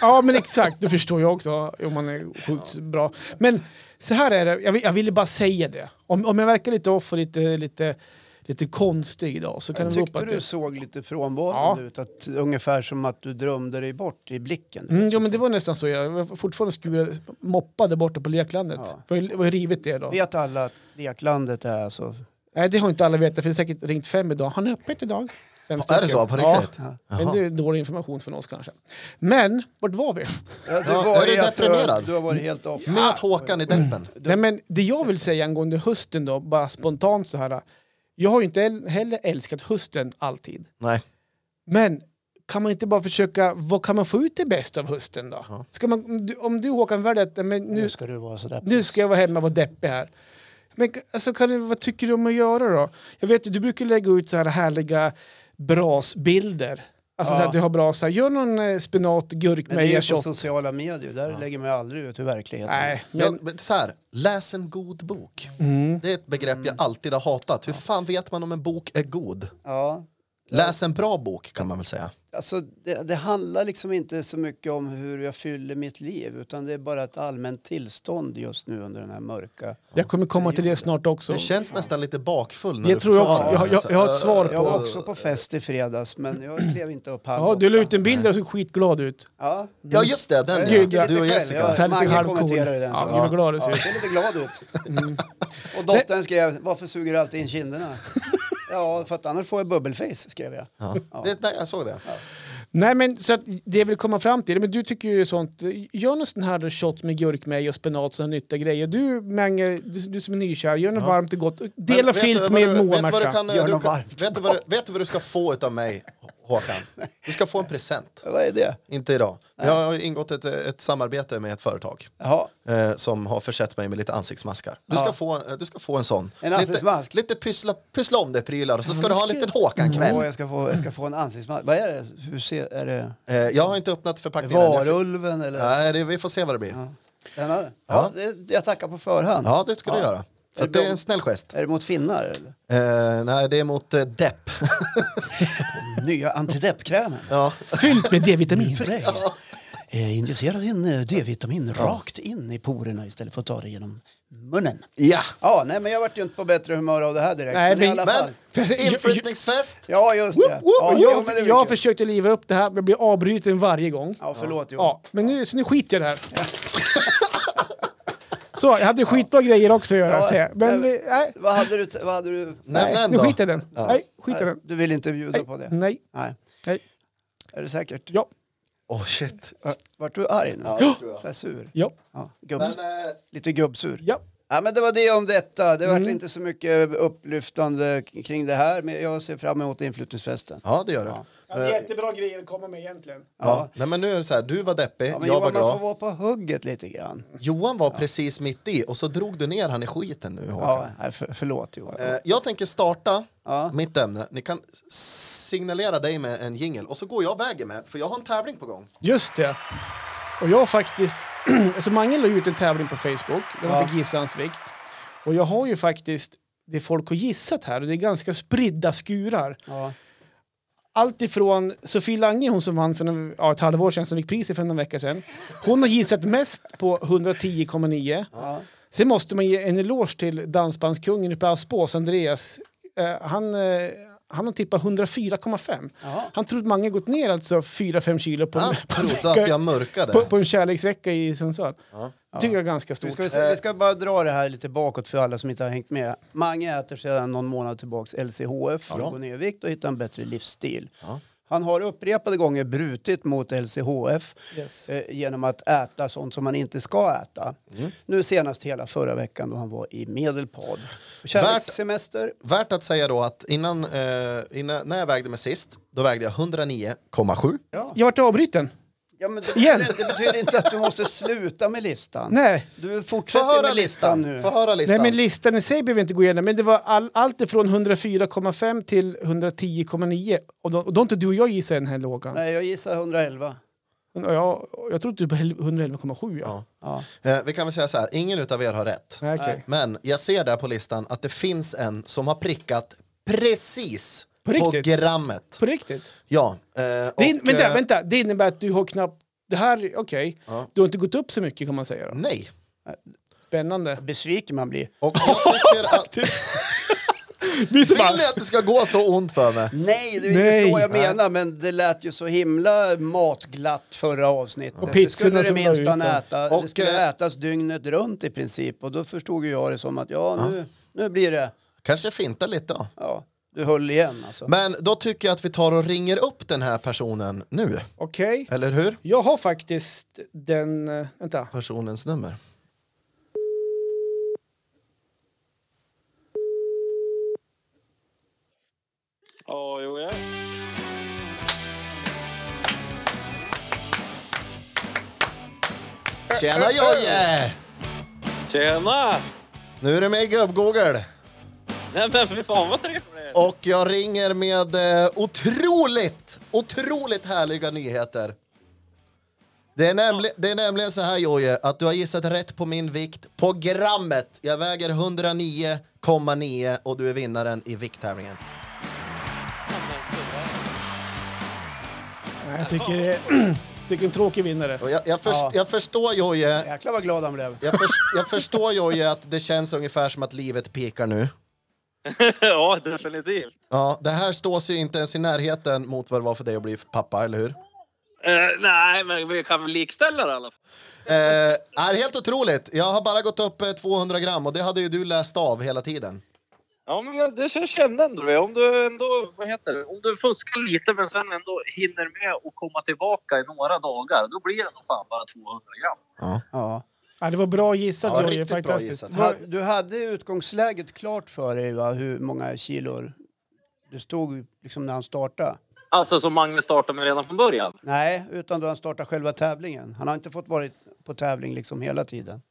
[SPEAKER 3] Ja, men exakt. Det förstår jag också, om man är sjukt bra. Men så här är det, jag, vill- jag ville bara säga det. Om, om jag verkar lite off och lite, lite, lite konstig idag så kan det bero på
[SPEAKER 1] Tyckte
[SPEAKER 3] att...
[SPEAKER 1] du
[SPEAKER 3] det-
[SPEAKER 1] såg lite frånvarande
[SPEAKER 3] Ja.
[SPEAKER 1] ut? Att, ungefär som att du drömde dig bort i blicken.
[SPEAKER 3] Mm, ja, men det var nästan så. Jag var fortfarande skurade, moppade borta på leklandet.
[SPEAKER 1] Ja.
[SPEAKER 3] Vad har ju rivit det då?
[SPEAKER 1] Vet alla att leklandet är alltså...
[SPEAKER 3] Nej, det har inte alla vetat, för det har säkert ringt fem idag. Han är öppet idag. Fem
[SPEAKER 2] Är det
[SPEAKER 3] stycken.
[SPEAKER 2] så? På
[SPEAKER 3] Ja.
[SPEAKER 2] riktigt?
[SPEAKER 3] Men det är dålig information från oss kanske. Men, vart var vi?
[SPEAKER 1] Ja, du,
[SPEAKER 2] Ja,
[SPEAKER 1] har varit
[SPEAKER 2] är du
[SPEAKER 1] helt- eh,
[SPEAKER 2] deprimerad?
[SPEAKER 1] du har varit helt off.
[SPEAKER 3] Ah.
[SPEAKER 2] Möt Håkan i deppen.
[SPEAKER 3] Nej, men det jag vill säga angående hösten då, bara spontant så här. Jag har ju inte el- heller älskat hösten alltid.
[SPEAKER 2] Nej.
[SPEAKER 3] Men kan man inte bara försöka, vad kan man få ut det bästa av hösten då? Ska man, om du- om du Håkan väljer att men nu,
[SPEAKER 1] Nu ska du vara sådär.
[SPEAKER 3] nu ska jag vara hemma och vara deppig här. Men k- alltså, kan du, vad tycker du om att göra då? Jag vet att du brukar lägga ut så här härliga brasbilder. Alltså så
[SPEAKER 1] Ja.
[SPEAKER 3] att du har brasa. Gör någon eh, spenat
[SPEAKER 1] Men det är
[SPEAKER 3] gurkmeja
[SPEAKER 1] ju på
[SPEAKER 3] shot.
[SPEAKER 1] sociala medier, där lägger man ju aldrig ut hur verkligheten är.
[SPEAKER 3] Nej,
[SPEAKER 2] Men,
[SPEAKER 3] men,
[SPEAKER 2] men så här, läs en god bok.
[SPEAKER 3] Mm.
[SPEAKER 2] Det är ett begrepp jag alltid har hatat. Hur fan vet man om en bok är god?
[SPEAKER 1] Ja.
[SPEAKER 2] Läs en bra bok kan man väl säga.
[SPEAKER 1] Alltså, det, det handlar liksom inte så mycket om hur jag fyller mitt liv utan det är bara ett allmänt tillstånd just nu under den här mörka...
[SPEAKER 3] jag kommer komma till det snart också.
[SPEAKER 2] Du känns nästan lite bakfull när
[SPEAKER 3] Det
[SPEAKER 2] du
[SPEAKER 3] tror jag
[SPEAKER 2] förklarar
[SPEAKER 3] också. Jag-
[SPEAKER 2] det.
[SPEAKER 3] jag- jag har ett svar
[SPEAKER 2] Så,
[SPEAKER 1] Jag var
[SPEAKER 2] äh,
[SPEAKER 1] också på fest i fredags men jag klev inte upp halv
[SPEAKER 3] Ja, du la
[SPEAKER 1] åtta.
[SPEAKER 3] ut en bild där och såg skitglad ut.
[SPEAKER 1] Ja,
[SPEAKER 2] Ja just det, den
[SPEAKER 3] Gud,
[SPEAKER 2] ja.
[SPEAKER 3] jag-
[SPEAKER 2] Du och
[SPEAKER 1] jag-
[SPEAKER 2] Jessica.
[SPEAKER 1] jag-
[SPEAKER 3] Så här
[SPEAKER 1] Mange
[SPEAKER 3] lite halvcool.
[SPEAKER 1] kommenterade den,
[SPEAKER 3] Ja,
[SPEAKER 1] så.
[SPEAKER 3] gud vad glad du
[SPEAKER 1] Ja,
[SPEAKER 3] ser
[SPEAKER 1] jag
[SPEAKER 3] ut.
[SPEAKER 1] ser lite glad ut.
[SPEAKER 3] Mm.
[SPEAKER 1] Och dottern skrev, varför suger du alltid in kinderna? Ja, för att annars får jag bubbelface, skrev jag.
[SPEAKER 2] Ja. Det, nej, jag såg det.
[SPEAKER 3] Nej men så att det jag vill komma fram till, men du tycker ju sånt, gör någon sån här shot med gurkmeja och spenat sådana nyttiga grejer. Du Mange, du, du som är nykär, gör något varmt och gott. Dela
[SPEAKER 2] Men vet du
[SPEAKER 3] filt
[SPEAKER 2] vad
[SPEAKER 3] med
[SPEAKER 2] du- vet du vad du
[SPEAKER 3] Moa-Märta.
[SPEAKER 2] kan-
[SPEAKER 1] Gör
[SPEAKER 2] du
[SPEAKER 1] något
[SPEAKER 2] kan-
[SPEAKER 1] varmt.
[SPEAKER 2] Vet du vad du- vet du vad du ska få av mig, Håkan? Du ska få en present.
[SPEAKER 1] Vad är det?
[SPEAKER 2] Inte idag. Men Jag har ingått ett, ett samarbete med ett företag
[SPEAKER 1] Jaha,
[SPEAKER 2] eh, som har försett mig med lite ansiktsmaskar. Du ska, få, eh, du ska få en sån.
[SPEAKER 1] En ansiktsmask?
[SPEAKER 2] Lite, lite pyssla, pyssla om dig-prylar och så ska du ha en liten
[SPEAKER 1] Åh,
[SPEAKER 2] Håkan-kväll.
[SPEAKER 1] jag, Mm. ska få, jag ska få en ansiktsmask. Vad är det? Hur ser, är det
[SPEAKER 2] Eh, jag har inte öppnat förpackningen än. Jag fick-
[SPEAKER 1] varulven eller?
[SPEAKER 2] Nej, det, vi får se vad det blir. Ja,
[SPEAKER 1] Den här? Ja, det, jag tackar på förhand.
[SPEAKER 2] det ska du göra. För
[SPEAKER 1] Är
[SPEAKER 2] att
[SPEAKER 1] det
[SPEAKER 2] det är
[SPEAKER 1] bra?
[SPEAKER 2] en snäll gest.
[SPEAKER 1] Är det mot finnar? Eller?
[SPEAKER 2] Eh, nej, det är mot eh, depp.
[SPEAKER 1] Nya antideppkrämen.
[SPEAKER 2] ja.
[SPEAKER 3] Fyllt med D-vitamin.
[SPEAKER 1] För dig. Eh, Injicera din eh, D-vitamin rakt in i porerna istället för att ta det genom munnen.
[SPEAKER 2] ja.
[SPEAKER 1] Ja, nej, men jag vart ju inte på bättre humör av det här direkt.
[SPEAKER 3] Nej,
[SPEAKER 1] men, i
[SPEAKER 3] men-
[SPEAKER 1] alla fall.
[SPEAKER 2] Men,
[SPEAKER 3] Får jag se-
[SPEAKER 2] inflyttningsfest!
[SPEAKER 1] Ja, just det.
[SPEAKER 3] Woop, woop.
[SPEAKER 1] ja, jo, men
[SPEAKER 3] Jag,
[SPEAKER 1] det är väl
[SPEAKER 3] jag
[SPEAKER 1] kul.
[SPEAKER 3] försökte liva upp det här, men blir avbruten varje gång.
[SPEAKER 1] Ja, förlåt Johan.
[SPEAKER 3] Ja, men nu, så nu skiter jag i det här. Så, jag hade skitbra grejer också att göra.
[SPEAKER 1] Ja,
[SPEAKER 3] ser jag. men
[SPEAKER 1] nej,
[SPEAKER 3] vi, nej,
[SPEAKER 1] Vad hade du? Vad hade du
[SPEAKER 2] Nämn
[SPEAKER 3] nej
[SPEAKER 2] en
[SPEAKER 3] nu
[SPEAKER 2] då.
[SPEAKER 3] skiter jag i den.
[SPEAKER 2] Ja.
[SPEAKER 3] Nej, skiter i den.
[SPEAKER 1] du vill inte bjuda på det?
[SPEAKER 3] Nej, nej,
[SPEAKER 1] Nej.
[SPEAKER 3] nej.
[SPEAKER 1] Är du säkert?
[SPEAKER 3] Ja,
[SPEAKER 2] Åh shit.
[SPEAKER 1] Vart du arg nu?
[SPEAKER 2] det tror jag.
[SPEAKER 1] Så här sur?
[SPEAKER 3] ja,
[SPEAKER 1] Ja, gubbs,
[SPEAKER 2] Men, eh,
[SPEAKER 1] Lite gubbsur.
[SPEAKER 3] ja. Mm.
[SPEAKER 1] Ja, men det var det om detta. Det var inte så mycket upplyftande k- kring det här, men jag ser fram emot inflyttningsfesten.
[SPEAKER 2] ja, det gör du.
[SPEAKER 1] Ja.
[SPEAKER 2] Eh,
[SPEAKER 3] jättebra grejer att komma med egentligen.
[SPEAKER 2] ja. Nej, men nu är det så här, du var deppig,
[SPEAKER 1] Ja, men
[SPEAKER 2] jag var
[SPEAKER 1] Johan, man får
[SPEAKER 2] glad.
[SPEAKER 1] vara på hugget lite grann.
[SPEAKER 2] Johan var precis mitt i och så drog du ner han i skiten nu Håkan.
[SPEAKER 1] Ja, nej, för, förlåt Johan.
[SPEAKER 2] Eh, jag tänker starta
[SPEAKER 1] Ja.
[SPEAKER 2] mitt ämne. Ni kan signalera dig med en jingle och så går jag vägen med, för jag har en tävling på gång.
[SPEAKER 3] Just det. Och jag har faktiskt... alltså Mange la ju ut en tävling på Facebook där man
[SPEAKER 1] Ja.
[SPEAKER 3] fick gissa hans vikt. Och jag har ju faktiskt det folk har gissat här och det är ganska spridda skurar.
[SPEAKER 1] Ja.
[SPEAKER 3] Allt ifrån Sofie Lange, hon som vann för en, ja, ett halvår sedan, som fick priset för någon vecka sedan. Hon har gissat mest på 110,9.
[SPEAKER 1] Ja.
[SPEAKER 3] Sen måste man ge en eloge till dansbandskungen uppe i Aspås, Andreas. Eh, han, eh, han har tippat 104,5.
[SPEAKER 1] Ja.
[SPEAKER 3] Han trodde många gått ner alltså 4-5 kilo på,
[SPEAKER 2] Han
[SPEAKER 3] en- på, en
[SPEAKER 2] Ah, trodde
[SPEAKER 3] vecka,
[SPEAKER 2] att jag mörkade.
[SPEAKER 3] på, på en kärleksvecka i Sundsvall.
[SPEAKER 2] Ja.
[SPEAKER 3] Det tycker jag är ganska
[SPEAKER 1] Vi
[SPEAKER 3] stort. Eh,
[SPEAKER 1] ska, vi ska bara dra det här lite bakåt för alla som inte har hängt med. Mange äter sedan någon månad tillbaks LCHF för
[SPEAKER 2] Ja.
[SPEAKER 1] att gå ner i vikt och hitta en bättre livsstil.
[SPEAKER 2] Ja.
[SPEAKER 1] Han har upprepade gånger brutit mot LCHF
[SPEAKER 3] Yes.
[SPEAKER 1] eh, genom att äta sånt som man inte ska äta.
[SPEAKER 2] Mm.
[SPEAKER 1] Nu senast hela förra veckan då han var i Medelpad. Kärlekssemester.
[SPEAKER 2] Värt att säga då att innan, eh, innan, när jag vägde mig sist, då vägde jag 109,7.
[SPEAKER 3] Jag vart avbruten.
[SPEAKER 1] Ja, men det,
[SPEAKER 3] Igen.
[SPEAKER 1] det betyder inte att du måste sluta med listan.
[SPEAKER 3] Nej.
[SPEAKER 1] Du
[SPEAKER 2] Få
[SPEAKER 1] fortsätter
[SPEAKER 2] höra
[SPEAKER 1] med listan
[SPEAKER 2] listan,
[SPEAKER 1] nu.
[SPEAKER 2] Få höra
[SPEAKER 3] Nej,
[SPEAKER 2] listan.
[SPEAKER 3] men listan i sig behöver vi inte gå igenom. Men det var all, allt ifrån 104,5 till 110,9. Och då, och då har inte du och jag gissat än här lågan.
[SPEAKER 1] Nej, jag gissar 111.
[SPEAKER 3] Och Jag, jag tror du på 111,7. Ja.
[SPEAKER 2] Ja.
[SPEAKER 1] Ja.
[SPEAKER 2] Eh, vi kan väl säga så här, ingen utav er har rätt.
[SPEAKER 3] Nej, okej.
[SPEAKER 2] Men jag ser där på listan att det finns en som har prickat precis
[SPEAKER 3] På
[SPEAKER 2] på,
[SPEAKER 3] riktigt?
[SPEAKER 2] grammet.
[SPEAKER 3] På riktigt?
[SPEAKER 2] Ja. Eh,
[SPEAKER 3] Det in,
[SPEAKER 2] och,
[SPEAKER 3] vänta,
[SPEAKER 2] eh,
[SPEAKER 3] vänta, det innebär att du har knappt... Det här, okej.
[SPEAKER 2] Ja. Mm.
[SPEAKER 3] Du har inte gått upp så mycket kan man säga. Då.
[SPEAKER 2] Nej.
[SPEAKER 3] Spännande.
[SPEAKER 1] Besviken man blir.
[SPEAKER 2] Och jag tycker att...
[SPEAKER 3] Visst
[SPEAKER 2] Vill ni att det ska gå så ont för mig?
[SPEAKER 1] Nej, det är
[SPEAKER 3] Nej.
[SPEAKER 1] inte så jag menar, men det lät ju så himla matglatt förra avsnittet.
[SPEAKER 3] Och
[SPEAKER 1] det skulle
[SPEAKER 3] pizzorna
[SPEAKER 1] det
[SPEAKER 3] som la ut
[SPEAKER 1] minsta
[SPEAKER 3] där.
[SPEAKER 1] äta.
[SPEAKER 2] Och,
[SPEAKER 1] det skulle
[SPEAKER 2] eh,
[SPEAKER 1] ätas dygnet runt i princip och då förstod ju jag det som att ja, nu, nu blir det,
[SPEAKER 2] Kanske finta lite då.
[SPEAKER 1] ja, du höll igen alltså.
[SPEAKER 2] Men då tycker jag att vi tar och ringer upp den här personen nu.
[SPEAKER 3] Okej.
[SPEAKER 2] Eller hur?
[SPEAKER 3] Jag har faktiskt den... eh, Vänta.
[SPEAKER 2] Personens nummer.
[SPEAKER 4] Ja, jo, ja.
[SPEAKER 2] Tjena Jojje!
[SPEAKER 4] Tjena!
[SPEAKER 2] Nu är du med i Gubb-Google.
[SPEAKER 4] Nej, men fy fan vad trevligt!
[SPEAKER 2] Och jag ringer med eh, otroligt, otroligt härliga nyheter. Det är, nämli- det är nämligen så här Jojje, att du har gissat rätt på min vikt på grammet. Jag väger 109,9 och du är vinnaren i vikttävlingen.
[SPEAKER 3] Nej, jag tycker det är... tycker en tråkig vinnare.
[SPEAKER 2] Och jag, jag, förs-
[SPEAKER 1] Ja.
[SPEAKER 2] jag förstår Jojje,
[SPEAKER 1] Jäklar vad glad han blev.
[SPEAKER 2] jag, förs- jag förstår Jojje att det känns ungefär som att livet pikar nu.
[SPEAKER 4] ja, definitivt.
[SPEAKER 2] Ja, det här står sig inte ens i närheten mot vad det var för dig att bli pappa, eller hur?
[SPEAKER 4] Eh, nej, men vi kan väl likställa det i alla fall.
[SPEAKER 2] Eh, är helt otroligt. Jag har bara gått upp eh, 200 gram och det hade ju du läst av hela tiden.
[SPEAKER 4] Ja, men jag, det jag kände ändå det. Om du ändå, vad heter det, om du fuskar lite men sen ändå hinner med att komma tillbaka i några dagar, då blir det nog fan bara 200 gram.
[SPEAKER 1] Ja.
[SPEAKER 3] Ja, det var bra gissat,
[SPEAKER 2] Ja,
[SPEAKER 3] Jojje.
[SPEAKER 2] riktigt bra
[SPEAKER 3] fantastiskt.
[SPEAKER 2] gissat.
[SPEAKER 1] Ha- Du hade ju utgångsläget klart för dig va, hur många kilor det stod liksom när han startade.
[SPEAKER 4] Alltså som Magnus startade med redan från början.
[SPEAKER 1] Nej, utan då han startade själva tävlingen. Han har inte fått vara på tävling liksom hela tiden.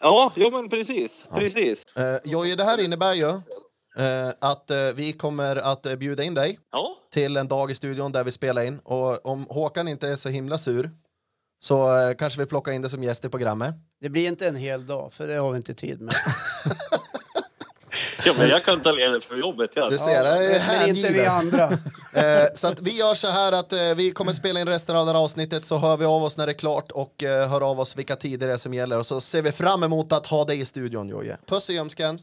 [SPEAKER 4] Ja, jo men precis, precis.
[SPEAKER 2] Eh, Jojje, det här innebär ju eh, att eh, vi kommer att eh, bjuda in dig
[SPEAKER 4] Ja,
[SPEAKER 2] till en dag i studion där vi spelar in. Och om Håkan inte är så himla sur så eh, kanske vi plockar in dig som gäst i programmet.
[SPEAKER 1] Det blir inte en hel dag, för det har vi inte tid med.
[SPEAKER 4] ja men jag kan ta ledigt för jobbet. Ja.
[SPEAKER 2] Du ser, det är
[SPEAKER 1] men inte vi
[SPEAKER 2] hängiven.
[SPEAKER 1] andra.
[SPEAKER 2] Eh, så att vi gör så här att eh, vi kommer spela in resten av det här avsnittet så hör vi av oss när det är klart och eh, hör av oss vilka tider det är som gäller och så ser vi fram emot att ha dig i studion Jojje. Puss i ljumsken.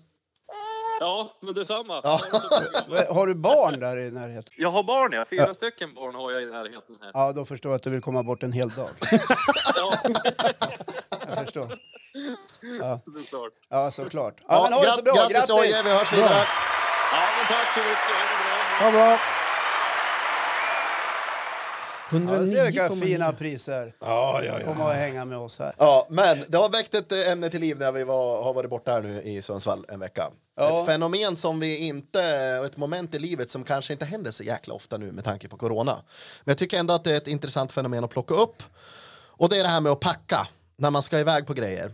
[SPEAKER 4] Ja, men detsamma.
[SPEAKER 2] Ja.
[SPEAKER 1] Har du barn där i närheten?
[SPEAKER 4] Jag har barn, ja. Fyra stycken barn har jag i närheten här.
[SPEAKER 1] Ja, då förstår jag att du vill komma bort en hel dag.
[SPEAKER 4] Ja.
[SPEAKER 1] Jag förstår. Ja,
[SPEAKER 4] såklart.
[SPEAKER 1] ja såklart. Ja, men ha det så bra.
[SPEAKER 2] grattis Oje,
[SPEAKER 1] Grattis!
[SPEAKER 2] vi hörs vidare.
[SPEAKER 4] Ja, men tack så mycket. Ha det bra.
[SPEAKER 3] Ha bra!
[SPEAKER 1] Ja, du ser vilka
[SPEAKER 3] 109,9.
[SPEAKER 1] fina priser.
[SPEAKER 2] Ja, ja,
[SPEAKER 1] Kom och hänga med oss här.
[SPEAKER 2] Ja, men det har väckt ett eh, ämne till liv när vi var, har varit borta här nu i Sundsvall en vecka.
[SPEAKER 1] Ja.
[SPEAKER 2] Ett fenomen som vi inte, och ett moment i livet som kanske inte händer så jäkla ofta nu med tanke på corona. Men jag tycker ändå att det är ett intressant fenomen att plocka upp. Och det är det här med att packa när man ska iväg på grejer.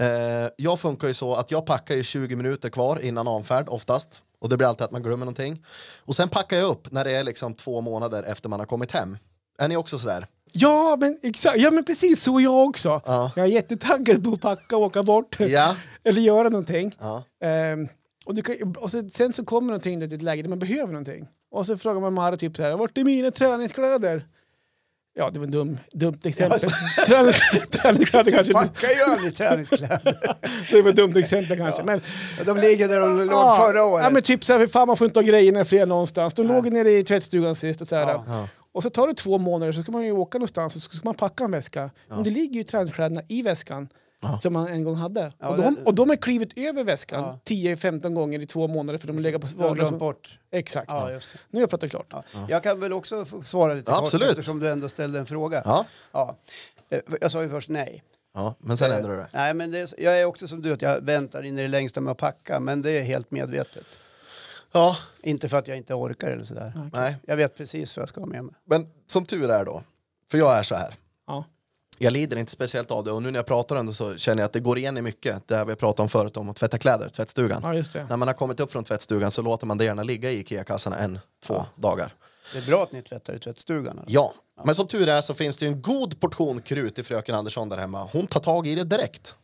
[SPEAKER 2] Eh, jag funkar ju så att jag packar ju 20 minuter kvar innan avfärd oftast. Och det blir alltid att man glömmer någonting. Och sen packar jag upp när det är liksom två månader efter man har kommit hem. Är ni också sådär?
[SPEAKER 3] Ja, men exakt. Ja, men precis så är jag också.
[SPEAKER 2] Ja.
[SPEAKER 3] Jag är jättetaggad på att packa och åka bort.
[SPEAKER 2] Ja.
[SPEAKER 3] Eller göra någonting.
[SPEAKER 2] Ja.
[SPEAKER 3] Ehm, och du kan, och så, sen så kommer någonting till ett läge där man behöver någonting. Och så frågar man Mara typ så här, vart är mina träningskläder? Ja, det var en dum, dumt exempel. Tränings- träningskläder kanske inte-
[SPEAKER 1] Packa ju aldrig träningskläder.
[SPEAKER 3] Det var ett dumt exempel kanske. Men,
[SPEAKER 1] De ligger där de låg
[SPEAKER 3] Ja,
[SPEAKER 1] förra året.
[SPEAKER 3] Ja, men typ så här, för fan man får inte ha grejerna fler någonstans. De låg nere i tvättstugan sist och så här.
[SPEAKER 1] Ja.
[SPEAKER 3] Och så tar det två månader så ska man ju åka någonstans och så ska man packa en väska. Men det ligger ju träningskläderna i väskan som man en gång hade.
[SPEAKER 1] Ja,
[SPEAKER 3] och, de,
[SPEAKER 1] det-
[SPEAKER 3] och de har klivit över väskan
[SPEAKER 1] Ja.
[SPEAKER 3] 10-15 gånger i två månader för de har legat på
[SPEAKER 1] De har glömt
[SPEAKER 3] vardagsrum.
[SPEAKER 1] bort.
[SPEAKER 3] Exakt.
[SPEAKER 1] Ja, just det.
[SPEAKER 3] Nu har jag pratat klart.
[SPEAKER 1] Ja. Jag kan väl också få svara lite
[SPEAKER 2] Ja,
[SPEAKER 1] kort
[SPEAKER 2] absolut.
[SPEAKER 1] eftersom du ändå ställde en fråga.
[SPEAKER 2] Ja.
[SPEAKER 1] Ja. Eh, Jag sa ju först nej.
[SPEAKER 2] ja, men sen ändrar du det.
[SPEAKER 1] Eh, Nej, men det är, jag är också som du, att jag väntar in i det längsta med att packa, men det är helt medvetet.
[SPEAKER 2] Ja,
[SPEAKER 1] Inte för att jag inte orkar eller sådär.
[SPEAKER 2] nej.
[SPEAKER 1] Jag vet precis vad jag ska ha med mig.
[SPEAKER 2] Men som tur är då, för jag är så här.
[SPEAKER 3] Ja.
[SPEAKER 2] Jag lider inte speciellt av det och nu när jag pratar om det så känner jag att det går igen i mycket. Det här vi pratade om förut om att tvätta kläder, tvättstugan.
[SPEAKER 3] ja, just det.
[SPEAKER 2] När man har kommit upp från tvättstugan så låter man det gärna ligga i Ikea-kassarna en, två dagar.
[SPEAKER 1] Det är bra att ni tvättar i tvättstugan. alltså.
[SPEAKER 2] Ja, men som tur är så finns det ju en god portion krut i fröken Andersson där hemma. Hon tar tag i det direkt.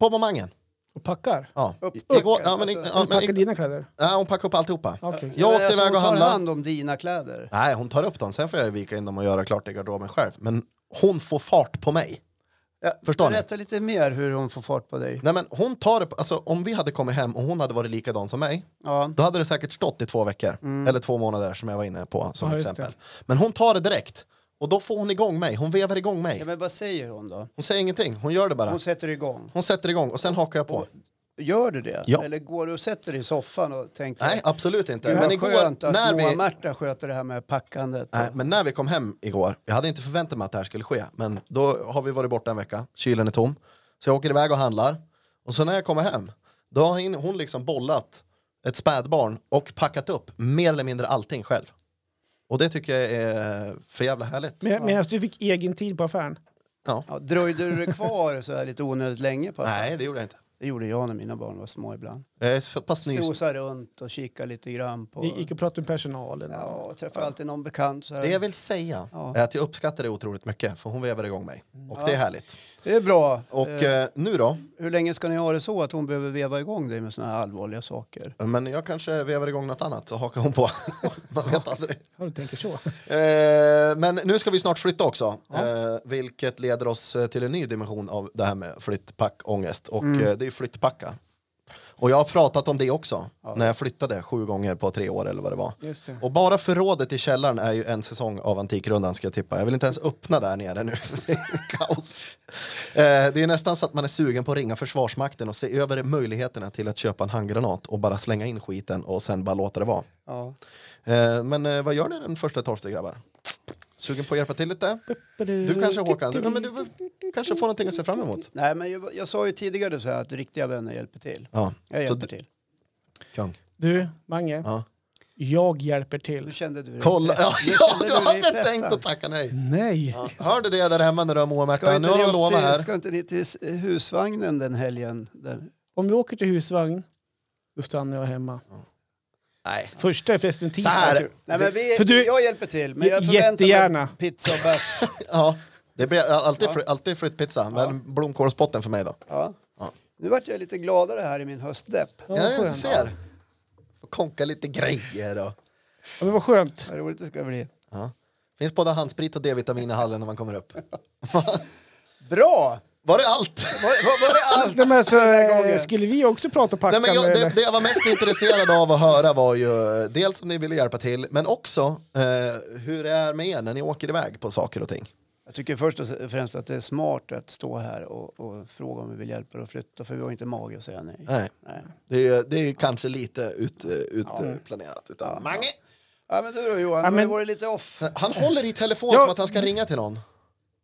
[SPEAKER 2] På momangen.
[SPEAKER 3] Och packar.
[SPEAKER 2] Ja.
[SPEAKER 1] Upp-
[SPEAKER 2] I- Igår, ja, men, i-
[SPEAKER 1] alltså,
[SPEAKER 2] ja,
[SPEAKER 3] Eller
[SPEAKER 2] men,
[SPEAKER 3] packar
[SPEAKER 2] i-
[SPEAKER 3] dina kläder.
[SPEAKER 2] ja, hon packade upp alltihopa.
[SPEAKER 3] Okej.
[SPEAKER 2] Jag
[SPEAKER 1] Men
[SPEAKER 2] åkte
[SPEAKER 1] alltså,
[SPEAKER 2] iväg
[SPEAKER 1] hon tar
[SPEAKER 2] och handlade.
[SPEAKER 1] hand om dina kläder.
[SPEAKER 2] Nej, hon tar upp dem. Sen får jag vika in dem och göra klart i garderoben själv. Men hon får fart på mig.
[SPEAKER 1] Ja,
[SPEAKER 2] Förstår ni?
[SPEAKER 1] Berätta lite mer hur hon får fart på dig.
[SPEAKER 2] Nej men hon tar det, på- alltså om vi hade kommit hem och hon hade varit likadan som mig,
[SPEAKER 1] Ja. Mm.
[SPEAKER 2] då hade det säkert stått i två veckor, eller två månader som jag var inne på som
[SPEAKER 3] Ja, just
[SPEAKER 2] exempel. Men hon tar det direkt, och då får hon igång mig, hon vevar igång mig.
[SPEAKER 1] ja, men vad säger hon då?
[SPEAKER 2] Hon säger ingenting, hon gör det bara.
[SPEAKER 1] Hon sätter igång.
[SPEAKER 2] Hon sätter igång och sen hakar jag på.
[SPEAKER 1] Gör du det?
[SPEAKER 2] Ja.
[SPEAKER 1] Eller går du och sätter dig i soffan och tänker
[SPEAKER 2] Nej, absolut inte.
[SPEAKER 1] det
[SPEAKER 2] Men
[SPEAKER 1] var skönt
[SPEAKER 2] igår,
[SPEAKER 1] att
[SPEAKER 2] när vi,
[SPEAKER 1] Moa-Märta sköter det här med packandet?
[SPEAKER 2] nej, men när vi kom hem igår, jag hade inte förväntat mig att det här skulle ske, men då har vi varit borta en vecka, kylen är tom. Så jag åker iväg och handlar, och så när jag kommer hem, då har hin- hon liksom bollat ett spädbarn och packat upp mer eller mindre allting själv. Och det tycker jag är för jävla härligt.
[SPEAKER 3] Med, Medan du fick egen tid på affären.
[SPEAKER 2] Ja.
[SPEAKER 1] Ja, dröjde du dig kvar så här lite onödigt länge? På
[SPEAKER 2] Nej, det gjorde jag inte.
[SPEAKER 1] Det gjorde jag när mina barn var små ibland.
[SPEAKER 2] Jag är så pass ny.
[SPEAKER 1] Strosa runt och kika lite grann på...
[SPEAKER 3] Ni gick och pratade med personalen.
[SPEAKER 1] Ja, och träffade alltid någon bekant. Så här.
[SPEAKER 2] Det jag vill säga
[SPEAKER 1] Ja.
[SPEAKER 2] är att jag uppskattar det otroligt mycket, för hon vevar igång mig. Och det är härligt.
[SPEAKER 1] Det är bra.
[SPEAKER 2] Och
[SPEAKER 1] Eh,
[SPEAKER 2] eh, nu då?
[SPEAKER 1] Hur länge ska ni ha det så att hon behöver veva igång dig med såna här allvarliga saker?
[SPEAKER 2] Men jag kanske vevar igång något annat, så hakar hon på. Man vet aldrig.
[SPEAKER 3] Ja, du tänker så.
[SPEAKER 2] Eh, men nu ska vi snart flytta också, eh, vilket leder oss eh, till en ny dimension av det här med flyttpackångest. Och eh, det är ju flyttpacka. Och jag har pratat om det också, när jag flyttade sju gånger på tre år eller vad det var.
[SPEAKER 3] Just det.
[SPEAKER 2] Och bara förrådet i källaren är ju en säsong av Antikrundan ska jag tippa. Jag vill inte ens öppna där nere nu, det är kaos. Eh, det är nästan så att man är sugen på att ringa Försvarsmakten och se över möjligheterna till att köpa en handgranat och bara slänga in skiten och sen bara låta det vara.
[SPEAKER 1] Ja.
[SPEAKER 2] Eh, men eh, vad gör ni den första tolfte grabbar? Sugen på att hjälpa till lite? Du kanske Håkan, du, ja, men du kanske får någonting att se fram emot?
[SPEAKER 1] Nej, men jag, jag sa ju tidigare så här att riktiga vänner hjälper till.
[SPEAKER 2] Ja,
[SPEAKER 1] Jag
[SPEAKER 2] så
[SPEAKER 1] hjälper
[SPEAKER 2] du,
[SPEAKER 1] till.
[SPEAKER 2] kung.
[SPEAKER 3] Du, Mange.
[SPEAKER 2] Ja.
[SPEAKER 3] Jag hjälper
[SPEAKER 1] Nu
[SPEAKER 3] till.
[SPEAKER 1] kände du dig
[SPEAKER 2] Kolla, ja,
[SPEAKER 1] pressad. Nu kände
[SPEAKER 2] ja, jag
[SPEAKER 1] dig
[SPEAKER 2] hade
[SPEAKER 1] pressad.
[SPEAKER 2] tänkt att tacka nej.
[SPEAKER 3] Nej!
[SPEAKER 2] Hörde det där hemma när du har Moa och
[SPEAKER 1] Ska
[SPEAKER 2] Märta, nu
[SPEAKER 1] inte, ni upp
[SPEAKER 2] har de lovat
[SPEAKER 1] till,
[SPEAKER 2] här.
[SPEAKER 1] ska inte ni till s- husvagnen den helgen? Den,
[SPEAKER 3] Om vi åker till husvagn, då stannar jag hemma.
[SPEAKER 2] Nej.
[SPEAKER 3] Första är förresten tisdag.
[SPEAKER 2] Så här.
[SPEAKER 1] Nej, men vi,
[SPEAKER 3] För du-
[SPEAKER 1] jag hjälper till, men jag
[SPEAKER 3] J-
[SPEAKER 1] förväntar
[SPEAKER 3] jättegärna.
[SPEAKER 1] mig pizza och bärs.
[SPEAKER 2] Ja, det blir alltid, fri, alltid flyttpizza, men blomkålsbotten för mig då.
[SPEAKER 1] Ja.
[SPEAKER 2] Ja.
[SPEAKER 1] Nu vart jag lite gladare här i min höstdepp.
[SPEAKER 3] Ja,
[SPEAKER 2] Ja,
[SPEAKER 3] vad
[SPEAKER 2] jag
[SPEAKER 3] skönt.
[SPEAKER 2] ser. Får konka lite grejer och...
[SPEAKER 3] Ja, men vad skönt.
[SPEAKER 1] Vad roligt det ska bli.
[SPEAKER 2] Ja. Finns både handsprit och D-vitamin i hallen när man kommer upp.
[SPEAKER 1] Bra!
[SPEAKER 2] Var det allt?
[SPEAKER 1] Var, var, var det allt?
[SPEAKER 3] Nej, men alltså,
[SPEAKER 1] gången.
[SPEAKER 3] eh, skulle vi också prata packa?
[SPEAKER 2] Nej, men jag,
[SPEAKER 3] eller?
[SPEAKER 2] det, det jag var mest intresserad av att höra var ju eh, dels om ni ville hjälpa till, men också eh, hur det är med er när ni åker iväg på saker och ting.
[SPEAKER 1] Jag tycker först och främst att det är smart att stå här och, och fråga om vi vill hjälpa dig att flytta för vi har inte mage att säga nej.
[SPEAKER 2] Nej,
[SPEAKER 1] nej.
[SPEAKER 2] det är ju, det är ju kanske lite eh, utplanerat ut utav Mange.
[SPEAKER 1] Ja, men du då Johan,
[SPEAKER 3] Ja,
[SPEAKER 1] du har ju
[SPEAKER 3] men-
[SPEAKER 1] varit lite off.
[SPEAKER 2] Han håller i telefon
[SPEAKER 3] Ja.
[SPEAKER 2] som att han ska ringa till någon.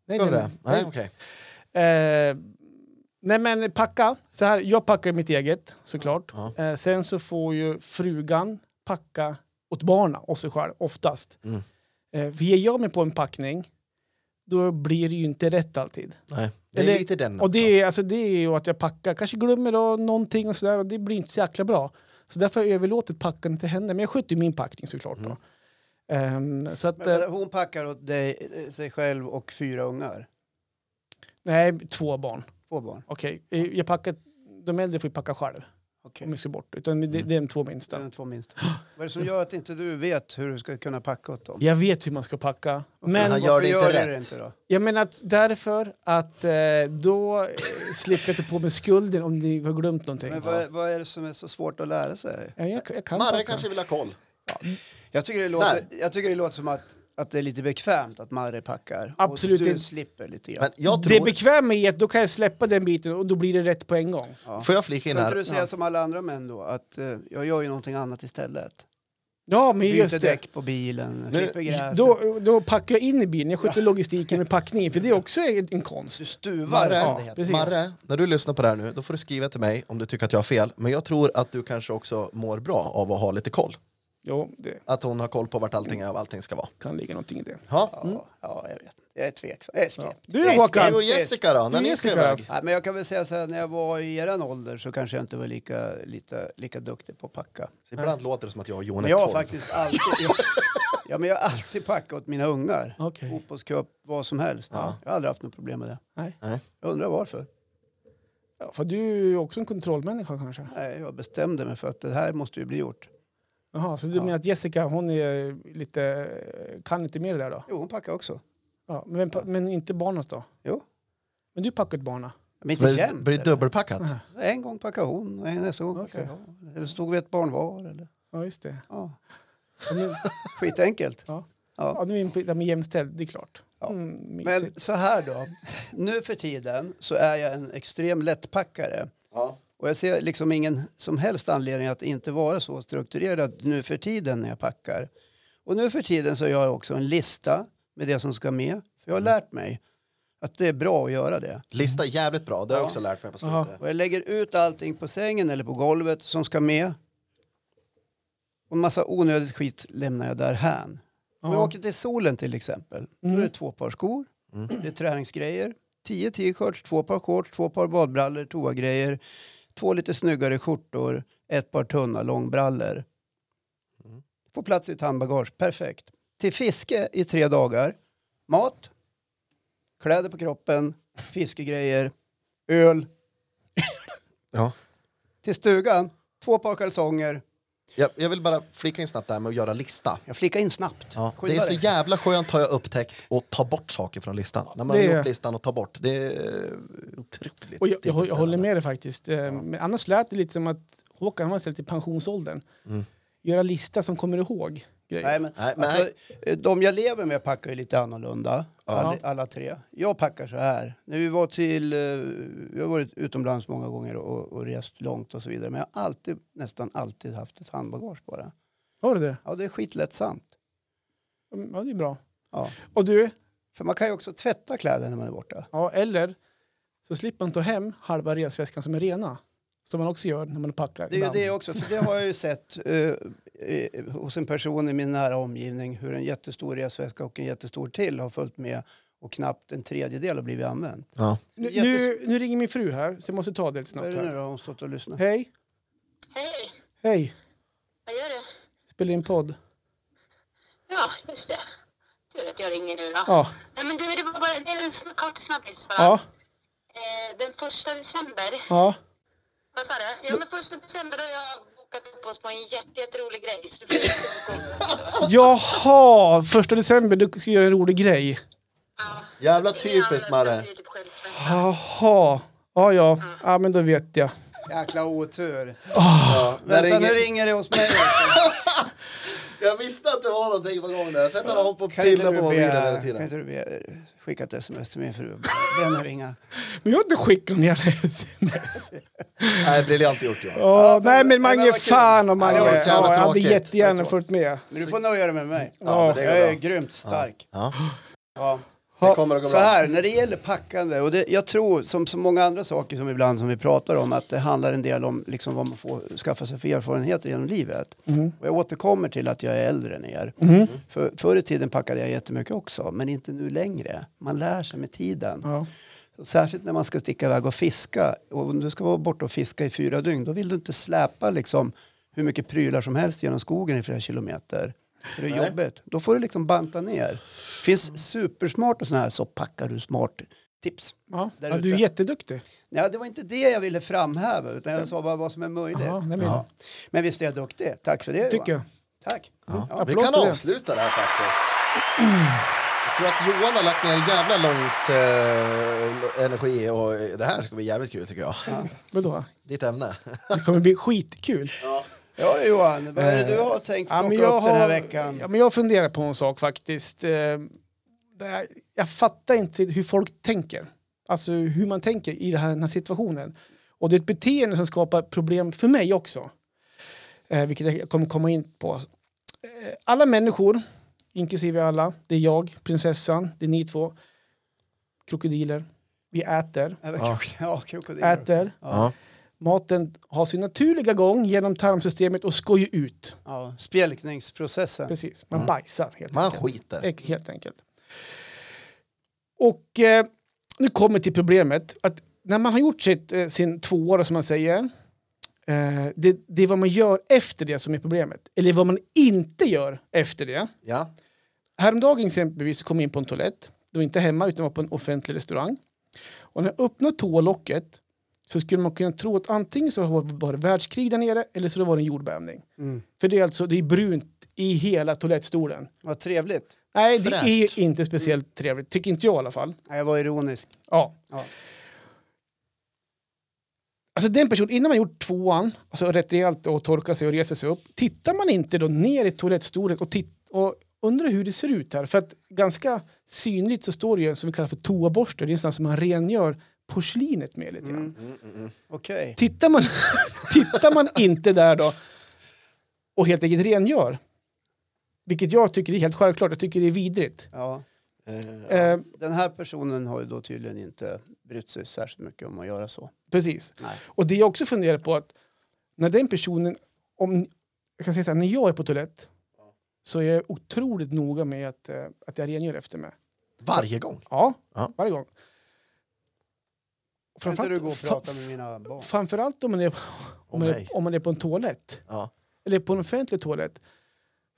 [SPEAKER 3] Nej,
[SPEAKER 2] Gör du
[SPEAKER 3] nej,
[SPEAKER 2] det? Nej,
[SPEAKER 3] nej.
[SPEAKER 2] okej.
[SPEAKER 3] Eh, nej men packa. Så här, jag packar mitt eget såklart. Eh, sen så får ju frugan packa åt barna och sig själv oftast.
[SPEAKER 2] Mm.
[SPEAKER 3] Eh, för ger jag mig på en packning då blir det ju inte rätt alltid.
[SPEAKER 2] Nej. Det är
[SPEAKER 3] Eller-
[SPEAKER 2] lite den
[SPEAKER 3] Och
[SPEAKER 2] också.
[SPEAKER 3] det är, alltså, det är ju att jag packar, kanske glömmer då någonting och sådär och det blir inte så jäkla bra. Så därför har jag överlåtit packandet till henne. Men jag skötte ju min packning såklart då. Ehm, så att,
[SPEAKER 1] Men,
[SPEAKER 3] eh,
[SPEAKER 1] men hon packar åt dig, eh, sig själv och fyra ungar.
[SPEAKER 3] nej, två barn.
[SPEAKER 1] Två barn.
[SPEAKER 3] Okej, Eh, jag packar, de äldre får ju packa själv
[SPEAKER 1] Okej. Mm.
[SPEAKER 3] om vi ska bort. Utan det, det är de två minsta.
[SPEAKER 1] Det är de två minsta. Vad är det som gör att inte du vet hur du ska kunna packa åt dem?
[SPEAKER 3] Jag vet hur man ska packa. Men
[SPEAKER 2] han
[SPEAKER 1] Varför
[SPEAKER 2] gör det inte
[SPEAKER 1] du det
[SPEAKER 2] rätt.
[SPEAKER 1] inte då?
[SPEAKER 3] jag menar att därför att eh, då eh, slipper jag inte på mig skulden om ni har glömt någonting.
[SPEAKER 1] Men vad, vad är det som är så svårt att lära sig?
[SPEAKER 3] Ja, jag, jag kan
[SPEAKER 2] Marre
[SPEAKER 3] packa.
[SPEAKER 2] kanske vill ha koll.
[SPEAKER 1] Jag tycker det låter, jag tycker det låter som att, att det är lite bekvämt att Marre packar.
[SPEAKER 3] Absolut
[SPEAKER 1] Och du
[SPEAKER 3] inte.
[SPEAKER 1] slipper lite grann.
[SPEAKER 2] Men jag
[SPEAKER 3] Det
[SPEAKER 2] tror...
[SPEAKER 3] bekväma är att då kan jag släppa den biten och då blir det rätt på en gång.
[SPEAKER 2] Får jag flika in
[SPEAKER 1] Kan inte du
[SPEAKER 2] här?
[SPEAKER 1] säga som alla andra män då, att eh, jag gör ju någonting annat istället?
[SPEAKER 3] Ja, men
[SPEAKER 1] Byter
[SPEAKER 3] just det.
[SPEAKER 1] däck på bilen,
[SPEAKER 2] Nu-
[SPEAKER 1] klipper gräset.
[SPEAKER 3] Då, då packar jag in i bilen, jag sköter logistiken med packningen för det är också en konst.
[SPEAKER 1] Du stuvar,
[SPEAKER 2] Marre,
[SPEAKER 1] som det
[SPEAKER 3] Ja,
[SPEAKER 1] heter.
[SPEAKER 3] precis.
[SPEAKER 2] Marre, när du lyssnar på det här nu, då får du skriva till mig om du tycker att jag har fel. Men jag tror att du kanske också mår bra av att ha lite koll.
[SPEAKER 3] Jo, det
[SPEAKER 2] Att hon har koll på vart allting är och allting ska vara.
[SPEAKER 3] kan ligga någonting i det.
[SPEAKER 2] Ja.
[SPEAKER 1] Ja, ja, jag vet. Jag är tveksam. Jag är skeptisk.
[SPEAKER 3] Mm. Du
[SPEAKER 1] Jag är
[SPEAKER 3] Håkan.
[SPEAKER 2] Du och Jessica då, när
[SPEAKER 3] Du,
[SPEAKER 2] ni ska
[SPEAKER 3] Jessica.
[SPEAKER 2] iväg?
[SPEAKER 1] Nej, men jag kan väl säga så här, när jag var i eran ålder så kanske jag inte var lika, lika, lika duktig på att packa.
[SPEAKER 2] Ibland låter det som att jag och Johan är
[SPEAKER 1] Men jag har
[SPEAKER 2] tolv.
[SPEAKER 1] faktiskt alltid, jag, ja, men jag har alltid packat åt mina ungar.
[SPEAKER 3] Okej.
[SPEAKER 1] Fotbollscup, vad som helst. Jag har aldrig haft något problem med det.
[SPEAKER 3] Nej.
[SPEAKER 2] Nej.
[SPEAKER 1] Jag undrar varför.
[SPEAKER 3] Ja, för du är också en kontrollmänniska kanske?
[SPEAKER 1] Nej, jag bestämde mig för att det här måste ju bli gjort.
[SPEAKER 3] Jaha, så du menar att Jessica hon är lite, kan inte mer det där då?
[SPEAKER 1] Jo, hon packar också.
[SPEAKER 3] Ja, men, vem pa- men inte barnens då?
[SPEAKER 1] Jo.
[SPEAKER 3] Men du packar ett barna?
[SPEAKER 1] Men inte
[SPEAKER 2] Blir,
[SPEAKER 1] jämt.
[SPEAKER 2] blir det dubbelpackat?
[SPEAKER 1] En gång packade hon och en nästa gång packade jag. Eller stod vi ett barn var. Eller.
[SPEAKER 3] Ja, just det.
[SPEAKER 1] Ja.
[SPEAKER 3] Ja, men,
[SPEAKER 1] Skitenkelt.
[SPEAKER 3] ja.
[SPEAKER 1] Ja.
[SPEAKER 3] ja nu är vi inne på det där med jämställd, det är klart.
[SPEAKER 1] Ja.
[SPEAKER 3] Mm,
[SPEAKER 1] Men
[SPEAKER 3] mysigt.
[SPEAKER 1] så här då. Nu för tiden så är jag en extrem lättpackare. Och jag ser liksom ingen som helst anledning att inte vara så strukturerad nu för tiden när jag packar. Och nu för tiden så gör jag också en lista med det som ska med. För jag
[SPEAKER 3] Mm.
[SPEAKER 1] har lärt mig att det är bra att göra det.
[SPEAKER 2] Lista är jävligt bra, det har jag också lärt mig på slutet.
[SPEAKER 3] Jaha.
[SPEAKER 1] Och jag lägger ut allting på sängen eller på golvet som ska med. Och en massa onödigt skit lämnar jag därhän. Om jag
[SPEAKER 3] Ja.
[SPEAKER 1] åker till solen till exempel, då är det två par skor, det är träningsgrejer, tio t-shirts, två par shorts, två par badbrallor, toagrejer, två lite snyggare skjortor, ett par tunna långbrallor. Får plats i ett handbagage, perfekt. Till fiske i tre dagar, mat, kläder på kroppen, fiskegrejer, öl,
[SPEAKER 2] Ja.
[SPEAKER 1] till stugan, två par kalsonger.
[SPEAKER 2] Jag, jag vill bara flika in snabbt där med att göra lista.
[SPEAKER 1] Jag flickar in snabbt.
[SPEAKER 2] Ja,
[SPEAKER 1] Skynda
[SPEAKER 2] det är så
[SPEAKER 1] dig.
[SPEAKER 2] jävla skönt har jag upptäckt att ta bort saker från listan. När man
[SPEAKER 3] det
[SPEAKER 2] har
[SPEAKER 3] är-
[SPEAKER 2] gjort listan och tar bort. Det är otroligt
[SPEAKER 3] Och jag, jag, jag håller
[SPEAKER 2] tillfredsställande.
[SPEAKER 3] med dig faktiskt. Eh, Men annars lät det lite som att Håkan han var ställd till pensionsåldern.
[SPEAKER 1] Mm.
[SPEAKER 3] Göra lista som kommer ihåg grejer.
[SPEAKER 1] Nej, men,
[SPEAKER 2] Nej, men
[SPEAKER 1] alltså, eh, de jag lever med packar ju lite annorlunda, alla, alla tre. Jag packar så här. När vi var till, eh, jag har varit utomlands många gånger och, och rest långt och så vidare. Men jag har alltid, nästan alltid haft ett handbagage bara.
[SPEAKER 3] Har du det?
[SPEAKER 1] Ja, det är skitlättsamt.
[SPEAKER 3] Mm, Ja, det är bra.
[SPEAKER 1] Ja.
[SPEAKER 3] Och du,
[SPEAKER 1] För man kan ju också tvätta kläder när man är borta.
[SPEAKER 3] ja, eller så slipper man ta hem halva resväskan som är rena. Som man också gör när man packar.
[SPEAKER 1] Det är ju
[SPEAKER 3] ibland.
[SPEAKER 1] det också, för det har jag ju sett eh, eh, hos en person i min nära omgivning hur en jättestor resväska och en jättestor till har följt med och knappt en tredjedel har blivit använt.
[SPEAKER 2] Ja.
[SPEAKER 3] Nu,
[SPEAKER 1] Jättes-
[SPEAKER 3] nu, nu ringer min fru här, så jag måste ta det lite
[SPEAKER 1] Vad är
[SPEAKER 3] snabbt.
[SPEAKER 1] det nu
[SPEAKER 3] Här.
[SPEAKER 1] då? Har hon stått och lyssnat?
[SPEAKER 3] Hej!
[SPEAKER 5] Hej,
[SPEAKER 3] Hej!
[SPEAKER 5] vad gör du?
[SPEAKER 3] Spelar in podd.
[SPEAKER 5] Ja, just det. Tur att jag ringer nu då.
[SPEAKER 3] Ja.
[SPEAKER 5] Nej, men du, det var bara det är en sn- kort snabbis bara.
[SPEAKER 3] Ja.
[SPEAKER 5] Eh, den första december,
[SPEAKER 3] ja.
[SPEAKER 5] vad sa du? Ja, men första december har jag bokat upp oss på en jätte, jätterolig grej. Så du får inte gå.
[SPEAKER 3] Jaha! Första december, du ska göra en rolig grej.
[SPEAKER 5] ja.
[SPEAKER 2] Jävla
[SPEAKER 5] Ingen
[SPEAKER 2] typiskt
[SPEAKER 5] annan
[SPEAKER 2] Marre.
[SPEAKER 5] sätter ju typ själv för mig.
[SPEAKER 3] Jaha. Ja, ja. Ja, men då vet jag.
[SPEAKER 1] Jäkla otur.
[SPEAKER 2] Ja. när
[SPEAKER 1] Vänta,
[SPEAKER 2] ringer-
[SPEAKER 1] nu ringer det hos mig. också.
[SPEAKER 2] Jag visste att det var någonting på gång där. Jag sätter honom på
[SPEAKER 1] Kan inte
[SPEAKER 2] pilla
[SPEAKER 1] du be-
[SPEAKER 2] på mobilen hela
[SPEAKER 1] kan
[SPEAKER 2] tiden.
[SPEAKER 1] inte du be- skicka ett sms till min fru. Den ringa.
[SPEAKER 3] Men jag har inte skickat någon jävla sms.
[SPEAKER 2] Nej, briljant gjort Johan.
[SPEAKER 3] Ja,
[SPEAKER 1] men-
[SPEAKER 3] nej
[SPEAKER 1] nej,
[SPEAKER 3] men
[SPEAKER 1] men
[SPEAKER 3] Mange,
[SPEAKER 1] vad kul.
[SPEAKER 3] fan om Mange.
[SPEAKER 2] Ja, det var
[SPEAKER 3] Ja,
[SPEAKER 2] så jävla
[SPEAKER 3] jag hade
[SPEAKER 2] tråkigt. Det
[SPEAKER 3] jättegärna
[SPEAKER 2] var
[SPEAKER 3] följt med.
[SPEAKER 1] Men du får nöja dig med mig.
[SPEAKER 2] Ja, men det
[SPEAKER 1] Jag är
[SPEAKER 2] går bra.
[SPEAKER 1] grymt stark.
[SPEAKER 2] Ja.
[SPEAKER 1] Ja.
[SPEAKER 2] Det kommer att gå
[SPEAKER 1] Så
[SPEAKER 2] bra.
[SPEAKER 1] här, när det gäller packande, och det, jag tror som så många andra saker som ibland som vi pratar om, att det handlar en del om liksom, vad man får skaffa sig för erfarenheter genom livet.
[SPEAKER 2] Mm.
[SPEAKER 1] Och jag återkommer till att jag är äldre än er. För, förr i tiden packade jag jättemycket också, men inte nu längre. Man lär sig med tiden.
[SPEAKER 3] Ja.
[SPEAKER 1] Och Särskilt när man ska sticka iväg och fiska. Och om du ska vara borta och fiska i fyra dygn, då vill du inte släpa liksom, hur mycket prylar som helst genom skogen i flera kilometer. För Det är jobbigt. Då får du liksom banta ner.
[SPEAKER 3] Mm.
[SPEAKER 1] finns supersmart och sådana här så packar du smart tips.
[SPEAKER 3] Ja.
[SPEAKER 1] Där
[SPEAKER 3] Ja, du är
[SPEAKER 1] ute.
[SPEAKER 3] jätteduktig.
[SPEAKER 1] Ja, det var inte det jag ville framhäva, utan jag sa bara vad som är möjligt.
[SPEAKER 3] Ja, nej, men-
[SPEAKER 1] Ja. Men visst är jag duktig. Tack för det. Johan.
[SPEAKER 3] Tycker jag.
[SPEAKER 1] Tack.
[SPEAKER 2] Ja, vi
[SPEAKER 3] Applåd
[SPEAKER 2] kan
[SPEAKER 3] för det.
[SPEAKER 2] avsluta det här faktiskt. Jag tror att Johan har lagt ner jävla långt eh, energi och eh, det här ska bli jävligt kul tycker jag.
[SPEAKER 3] Vadå?
[SPEAKER 2] Ditt ämne.
[SPEAKER 3] Det kommer bli skitkul.
[SPEAKER 1] Ja, Johan, vad är det
[SPEAKER 3] Eh,
[SPEAKER 1] du har tänkt plocka upp den här veckan?
[SPEAKER 3] Ja, men jag funderar på en sak faktiskt. Eh, det här- Jag fattar inte hur folk tänker. Alltså hur man tänker i det här- den här situationen. Och det är ett beteende som skapar problem för mig också. Eh, Vilket jag kommer komma in på. Eh, Alla människor, inklusive alla, det är jag, prinsessan, det är ni två, krokodiler. Vi äter,
[SPEAKER 1] Ja, ja krokodiler.
[SPEAKER 3] äter.
[SPEAKER 2] Ja.
[SPEAKER 3] Maten har sin naturliga gång genom tarmsystemet och ska ju ut.
[SPEAKER 1] Ja, spjälkningsprocessen.
[SPEAKER 3] Precis, man
[SPEAKER 1] Mm.
[SPEAKER 3] bajsar helt
[SPEAKER 2] Man
[SPEAKER 3] enkelt.
[SPEAKER 2] skiter.
[SPEAKER 3] Ek- Helt enkelt. Och eh, nu kommer till problemet att när man har gjort sitt, eh, sin tvåa då, som man säger, eh, det, det är vad man gör efter det som är problemet. Eller vad man inte gör efter det.
[SPEAKER 2] Ja.
[SPEAKER 3] Häromdagen exempelvis så kom jag in på en toalett. Det var inte hemma utan var på en offentlig restaurang. Och när jag öppnade toalocket så skulle man kunna tro att antingen så var det bara världskrig där nere eller så det var det en jordbävning.
[SPEAKER 1] Mm.
[SPEAKER 3] För det är alltså det är brunt i hela toalettstolen.
[SPEAKER 1] Vad trevligt.
[SPEAKER 3] Nej, det
[SPEAKER 2] Fräscht.
[SPEAKER 3] är inte speciellt trevligt. Tycker inte jag i alla fall.
[SPEAKER 1] Nej, Jag var ironisk.
[SPEAKER 3] Ja.
[SPEAKER 1] Ja.
[SPEAKER 3] Alltså den personen, innan man gjort tvåan, alltså rätt rejält och torkar sig och reser sig upp, tittar man inte då ner i toalettstolen och, titt- och undrar hur det ser ut här? För att ganska synligt så står det ju en som vi kallar för toaborste, det är en sån som man rengör porslinet med lite grann.
[SPEAKER 1] Mm. Okej.
[SPEAKER 3] Tittar, man, tittar man inte där då och helt enkelt rengör, vilket jag tycker är helt självklart, jag tycker det är vidrigt.
[SPEAKER 1] Ja.
[SPEAKER 3] Eh,
[SPEAKER 1] Den här personen har ju då tydligen inte brytt sig särskilt mycket om att göra så.
[SPEAKER 3] Precis.
[SPEAKER 1] Nej.
[SPEAKER 3] Och det jag också funderar på att när den personen, om, jag kan säga så här, när jag är på toalett så är jag otroligt noga med att, eh, att jag rengör efter mig.
[SPEAKER 2] Varje gång.
[SPEAKER 3] Ja,
[SPEAKER 2] Ja.
[SPEAKER 3] varje gång.
[SPEAKER 1] Kan inte du gå och
[SPEAKER 3] fa-
[SPEAKER 1] prata med mina barn?
[SPEAKER 3] Framförallt om man, är, om, man
[SPEAKER 2] nej.
[SPEAKER 3] är, om man är på en toalett,
[SPEAKER 2] Ja.
[SPEAKER 3] eller på en offentlig toalett.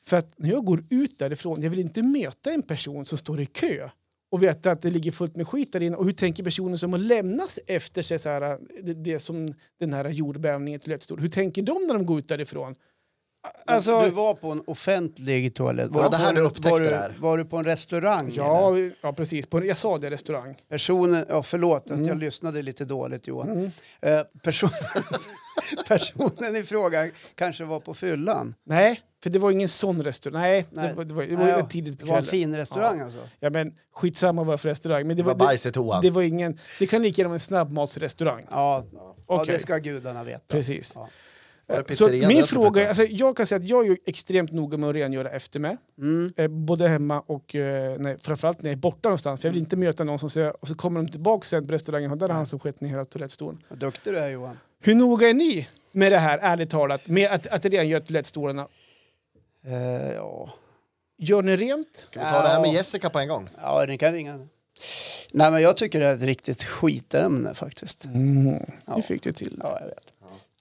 [SPEAKER 3] För att när jag går ut därifrån, jag vill inte möta en person som står i kö och veta att det ligger fullt med skit där inne. Och hur tänker personen som har lämnats efter sig så här, det, det som den här jordbävningen till stor. Hur tänker de när de går ut därifrån? Alltså,
[SPEAKER 1] du var på en offentlig toalett.
[SPEAKER 2] Ja,
[SPEAKER 1] du
[SPEAKER 2] det här
[SPEAKER 1] på en-
[SPEAKER 2] du upptäckte
[SPEAKER 1] var,
[SPEAKER 2] det här.
[SPEAKER 1] var du på en restaurang? eller?
[SPEAKER 3] ja, ja, precis. På, jag sa det, restaurang.
[SPEAKER 1] Personen, ja, förlåt att
[SPEAKER 3] Mm.
[SPEAKER 1] jag lyssnade lite dåligt Johan. Eh, person, personen i fråga kanske var på fyllan.
[SPEAKER 3] Nej, för det var ingen sån restaurang. Nej,
[SPEAKER 1] Nej.
[SPEAKER 3] det var, det var, det var
[SPEAKER 1] Ja,
[SPEAKER 3] rätt tidigt på
[SPEAKER 1] Det var en
[SPEAKER 3] kvällen.
[SPEAKER 1] fin restaurang alltså.
[SPEAKER 3] Ja, men skitsamma vad det var för restaurang. Men det,
[SPEAKER 2] var
[SPEAKER 3] var,
[SPEAKER 2] bajs i toan.
[SPEAKER 3] Det, det var ingen... Det kan lika gärna vara en snabbmatsrestaurang.
[SPEAKER 1] Ja, ja
[SPEAKER 3] Okej.
[SPEAKER 1] det ska gudarna veta.
[SPEAKER 3] Precis. Eh,
[SPEAKER 1] Ja.
[SPEAKER 2] Var det
[SPEAKER 3] Så
[SPEAKER 2] pizzerian där
[SPEAKER 3] min
[SPEAKER 2] som
[SPEAKER 3] fråga, är-
[SPEAKER 2] flyttade?
[SPEAKER 3] alltså, jag kan säga att jag är ju extremt noga med att rengöra efter mig.
[SPEAKER 2] Mm.
[SPEAKER 3] Eh, både hemma och eh, när, framförallt när jag är borta någonstans.
[SPEAKER 2] Mm.
[SPEAKER 3] För jag vill inte möta någon som säger, och så kommer de tillbaka sen på restaurangen och där är han som skett ner hela toalettstolen.
[SPEAKER 1] Vad duktig du är Johan.
[SPEAKER 3] Hur noga är ni med det här, ärligt talat, med att, att rengöra toalettstolarna?
[SPEAKER 1] Eh, ja.
[SPEAKER 3] Gör ni rent?
[SPEAKER 2] Ska vi ta det här med Jessica på en gång?
[SPEAKER 1] Ja, den kan ringa. Nej, men jag tycker det är ett riktigt skitämne faktiskt.
[SPEAKER 3] Nu fick du till det.
[SPEAKER 1] Ja, jag vet.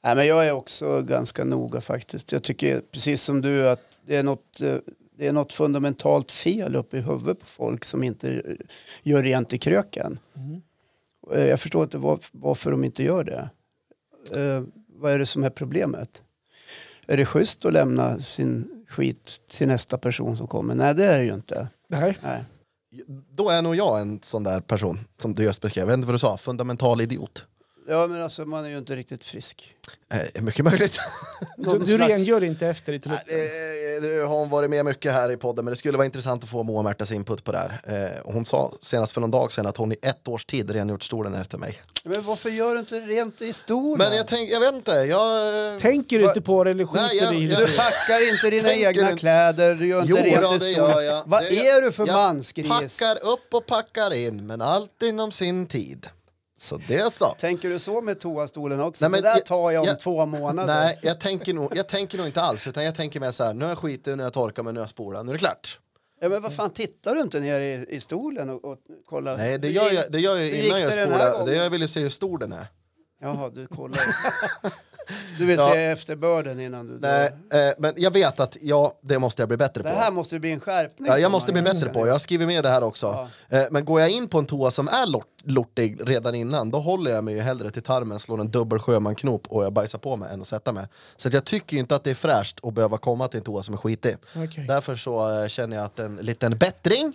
[SPEAKER 1] Nej, men jag är också ganska noga faktiskt. Jag tycker precis som du att det är något, eh, det är något fundamentalt fel uppe i huvudet på folk som inte eh, gör rent i kröken. Eh, Jag förstår inte var, varför de inte gör det. Eh, vad är det som är problemet? Är det schysst att lämna sin skit till nästa person som kommer? Nej, det är det ju inte.
[SPEAKER 3] Nej.
[SPEAKER 1] Nej.
[SPEAKER 2] Då är nog jag en sån där person som du just beskrev. Jag vet inte vad du sa, fundamental idiot.
[SPEAKER 1] Ja, men alltså man är ju inte riktigt frisk.
[SPEAKER 2] Eh, mycket möjligt.
[SPEAKER 3] Så du
[SPEAKER 1] slags-
[SPEAKER 3] rengör inte efter i
[SPEAKER 2] Nej,
[SPEAKER 3] toaletten?
[SPEAKER 2] det- Nu har hon varit med mycket här i podden men det skulle vara intressant att få Moa Märtas input på det här. Eh, och Hon sa senast för någon dag sedan att hon i ett års tid rengjort stolen efter mig.
[SPEAKER 1] Men varför gör du inte rent i stolen?
[SPEAKER 2] Men jag, tänk, jag vet inte, jag... eh,
[SPEAKER 3] Tänker du inte på det eller skiter
[SPEAKER 2] Nej, jag-
[SPEAKER 3] i
[SPEAKER 2] jag-
[SPEAKER 3] det?
[SPEAKER 1] Du packar inte dina
[SPEAKER 2] Tänker
[SPEAKER 1] egna
[SPEAKER 2] du-
[SPEAKER 1] kläder, du gör inte
[SPEAKER 2] Jo,
[SPEAKER 1] rent
[SPEAKER 2] då,
[SPEAKER 1] i
[SPEAKER 2] det
[SPEAKER 1] stolen.
[SPEAKER 2] gör jag.
[SPEAKER 1] Vad
[SPEAKER 2] Det gör-
[SPEAKER 1] är du för
[SPEAKER 2] jag
[SPEAKER 1] mansgris?
[SPEAKER 2] Packar upp och packar in, men allt inom sin tid. Så det så.
[SPEAKER 1] Tänker du så med toastolen också?
[SPEAKER 2] Nej, men
[SPEAKER 1] det där
[SPEAKER 2] jag-
[SPEAKER 1] tar jag om
[SPEAKER 2] jag-
[SPEAKER 1] två månader.
[SPEAKER 2] Nej, jag tänker, nog, jag tänker nog inte alls, utan jag tänker mer så här, nu har jag skitit, nu har jag torkat mig, nu har jag spolat, nu är det klart.
[SPEAKER 1] Ja, men vad fan, tittar du inte ner i, i stolen och, och kollar?
[SPEAKER 2] Nej, det
[SPEAKER 1] Hur
[SPEAKER 2] gör
[SPEAKER 1] gick-
[SPEAKER 2] jag, det gör jag
[SPEAKER 1] hur
[SPEAKER 2] ju
[SPEAKER 1] gick
[SPEAKER 2] innan jag
[SPEAKER 1] det den här
[SPEAKER 2] spolar, det
[SPEAKER 1] gången?
[SPEAKER 2] gör jag vill ju se hur stor den är.
[SPEAKER 1] Jaha, du kollar. Du vill
[SPEAKER 2] Ja.
[SPEAKER 1] se efterbörden innan du
[SPEAKER 2] Nej,
[SPEAKER 1] drar.
[SPEAKER 2] eh, men jag vet att, ja, det måste jag bli bättre
[SPEAKER 1] Det
[SPEAKER 2] på.
[SPEAKER 1] här måste bli en skärpning.
[SPEAKER 2] Ja, jag
[SPEAKER 1] på,
[SPEAKER 2] måste bli
[SPEAKER 1] Magnus.
[SPEAKER 2] bättre på, jag skriver med det här också. Eh, Men går jag in på en toa som är lort, lortig redan innan, då håller jag mig ju hellre till tarmen, slår en dubbel sjömanknop och jag bajsar på mig än att sätta mig. Så att jag tycker ju inte att det är fräscht att behöva komma till en toa som är skitig.
[SPEAKER 3] Okej.
[SPEAKER 2] Därför så eh, känner jag att en liten bättring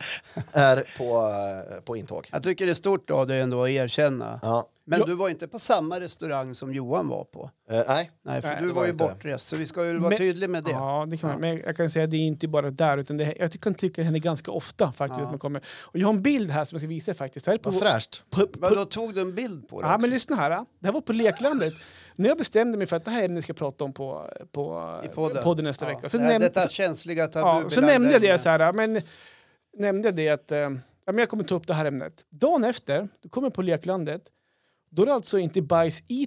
[SPEAKER 2] är på, eh, på intåg.
[SPEAKER 1] Jag tycker det är stort av dig ändå att erkänna.
[SPEAKER 2] Ja.
[SPEAKER 1] Men du var inte på samma restaurang som Johan var på.
[SPEAKER 2] Eh, nej,
[SPEAKER 1] Nej, för
[SPEAKER 3] Nej,
[SPEAKER 1] du
[SPEAKER 2] det
[SPEAKER 1] var
[SPEAKER 2] var
[SPEAKER 1] ju
[SPEAKER 2] inte.
[SPEAKER 1] bortrest, så vi ska ju vara
[SPEAKER 3] Men-
[SPEAKER 1] tydliga med det.
[SPEAKER 3] Ja, det kan man. Men jag kan säga att det är inte bara där, utan det, jag kan tycka det händer ganska ofta faktiskt. Att man kommer. Och jag har en bild här som jag ska visa er faktiskt. Det Här är
[SPEAKER 2] vad
[SPEAKER 3] på,
[SPEAKER 2] fräscht.
[SPEAKER 1] Men då tog du en bild på det
[SPEAKER 3] Ja,
[SPEAKER 1] också.
[SPEAKER 3] men lyssna här. ja. Det här var på leklandet. När jag bestämde mig för att det här är ämnet jag ska prata om på, på
[SPEAKER 1] I podden.
[SPEAKER 3] nästa vecka.
[SPEAKER 1] Så
[SPEAKER 3] Så,
[SPEAKER 1] det här,
[SPEAKER 3] nämnde,
[SPEAKER 1] detta
[SPEAKER 3] så,
[SPEAKER 1] känsliga
[SPEAKER 3] ja,
[SPEAKER 1] tabubelagda
[SPEAKER 3] så nämnde jag det
[SPEAKER 1] ämne.
[SPEAKER 3] så här, ja, men nämnde jag det att eh, ja, men jag kommer ta upp det här ämnet. Dagen efter, du kommer på leklandet, då är det alltså inte bajs i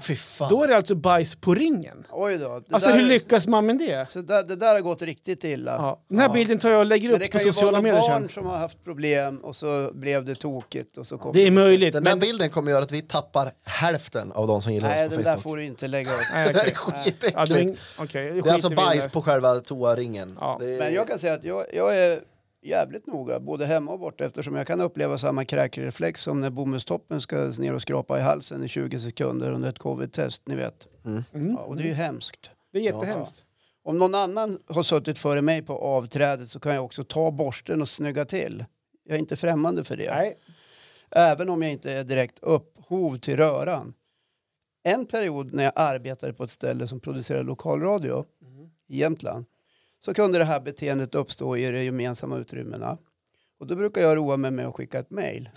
[SPEAKER 2] Fy fan.
[SPEAKER 3] Då är det alltså bajs på ringen.
[SPEAKER 1] Oj då. Det
[SPEAKER 3] Alltså
[SPEAKER 1] där,
[SPEAKER 3] hur lyckas man med det?
[SPEAKER 1] så där, det där har gått riktigt illa.
[SPEAKER 3] Ja. Den här bilden tar jag och lägger
[SPEAKER 1] Men det
[SPEAKER 3] upp på
[SPEAKER 1] kan ju vara
[SPEAKER 3] sociala medier
[SPEAKER 1] några
[SPEAKER 3] sen.
[SPEAKER 1] barn som har haft problem och så blev det tokigt och så kom
[SPEAKER 3] Det är möjligt.
[SPEAKER 2] Den där
[SPEAKER 3] men...
[SPEAKER 2] bilden kommer göra att vi tappar hälften av de som gillar
[SPEAKER 1] Nej,
[SPEAKER 2] oss på
[SPEAKER 1] den där
[SPEAKER 2] Facebook.
[SPEAKER 1] får du inte lägga upp.
[SPEAKER 3] Nej,
[SPEAKER 2] Det där
[SPEAKER 3] okej.
[SPEAKER 2] är skitäckligt.
[SPEAKER 3] Ja, det var ing- okej,
[SPEAKER 2] Det är alltså
[SPEAKER 3] skiter vi i
[SPEAKER 2] bajs
[SPEAKER 3] det.
[SPEAKER 2] på själva toaringen.
[SPEAKER 3] Ja.
[SPEAKER 2] Det är-
[SPEAKER 1] Men jag kan säga att jag, jag är jävligt noga, både hemma och borta eftersom jag kan uppleva samma kräkreflex som när bomullstoppen ska ner och skrapa i halsen i 20 sekunder under ett covid-test, ni vet.
[SPEAKER 2] Mm.
[SPEAKER 1] Ja, och det är ju hemskt.
[SPEAKER 3] Det är jättehemskt.
[SPEAKER 1] Om någon annan har suttit före mig på avträdet så kan jag också ta borsten och snygga till. Jag är inte främmande för det.
[SPEAKER 3] Nej.
[SPEAKER 1] Även om jag inte är direkt upphov till röran. En period när jag arbetade på ett ställe som producerade lokalradio i Jämtland så kunde det här beteendet uppstå i de gemensamma utrymmena. Och då brukar jag roa mig med att skicka ett mejl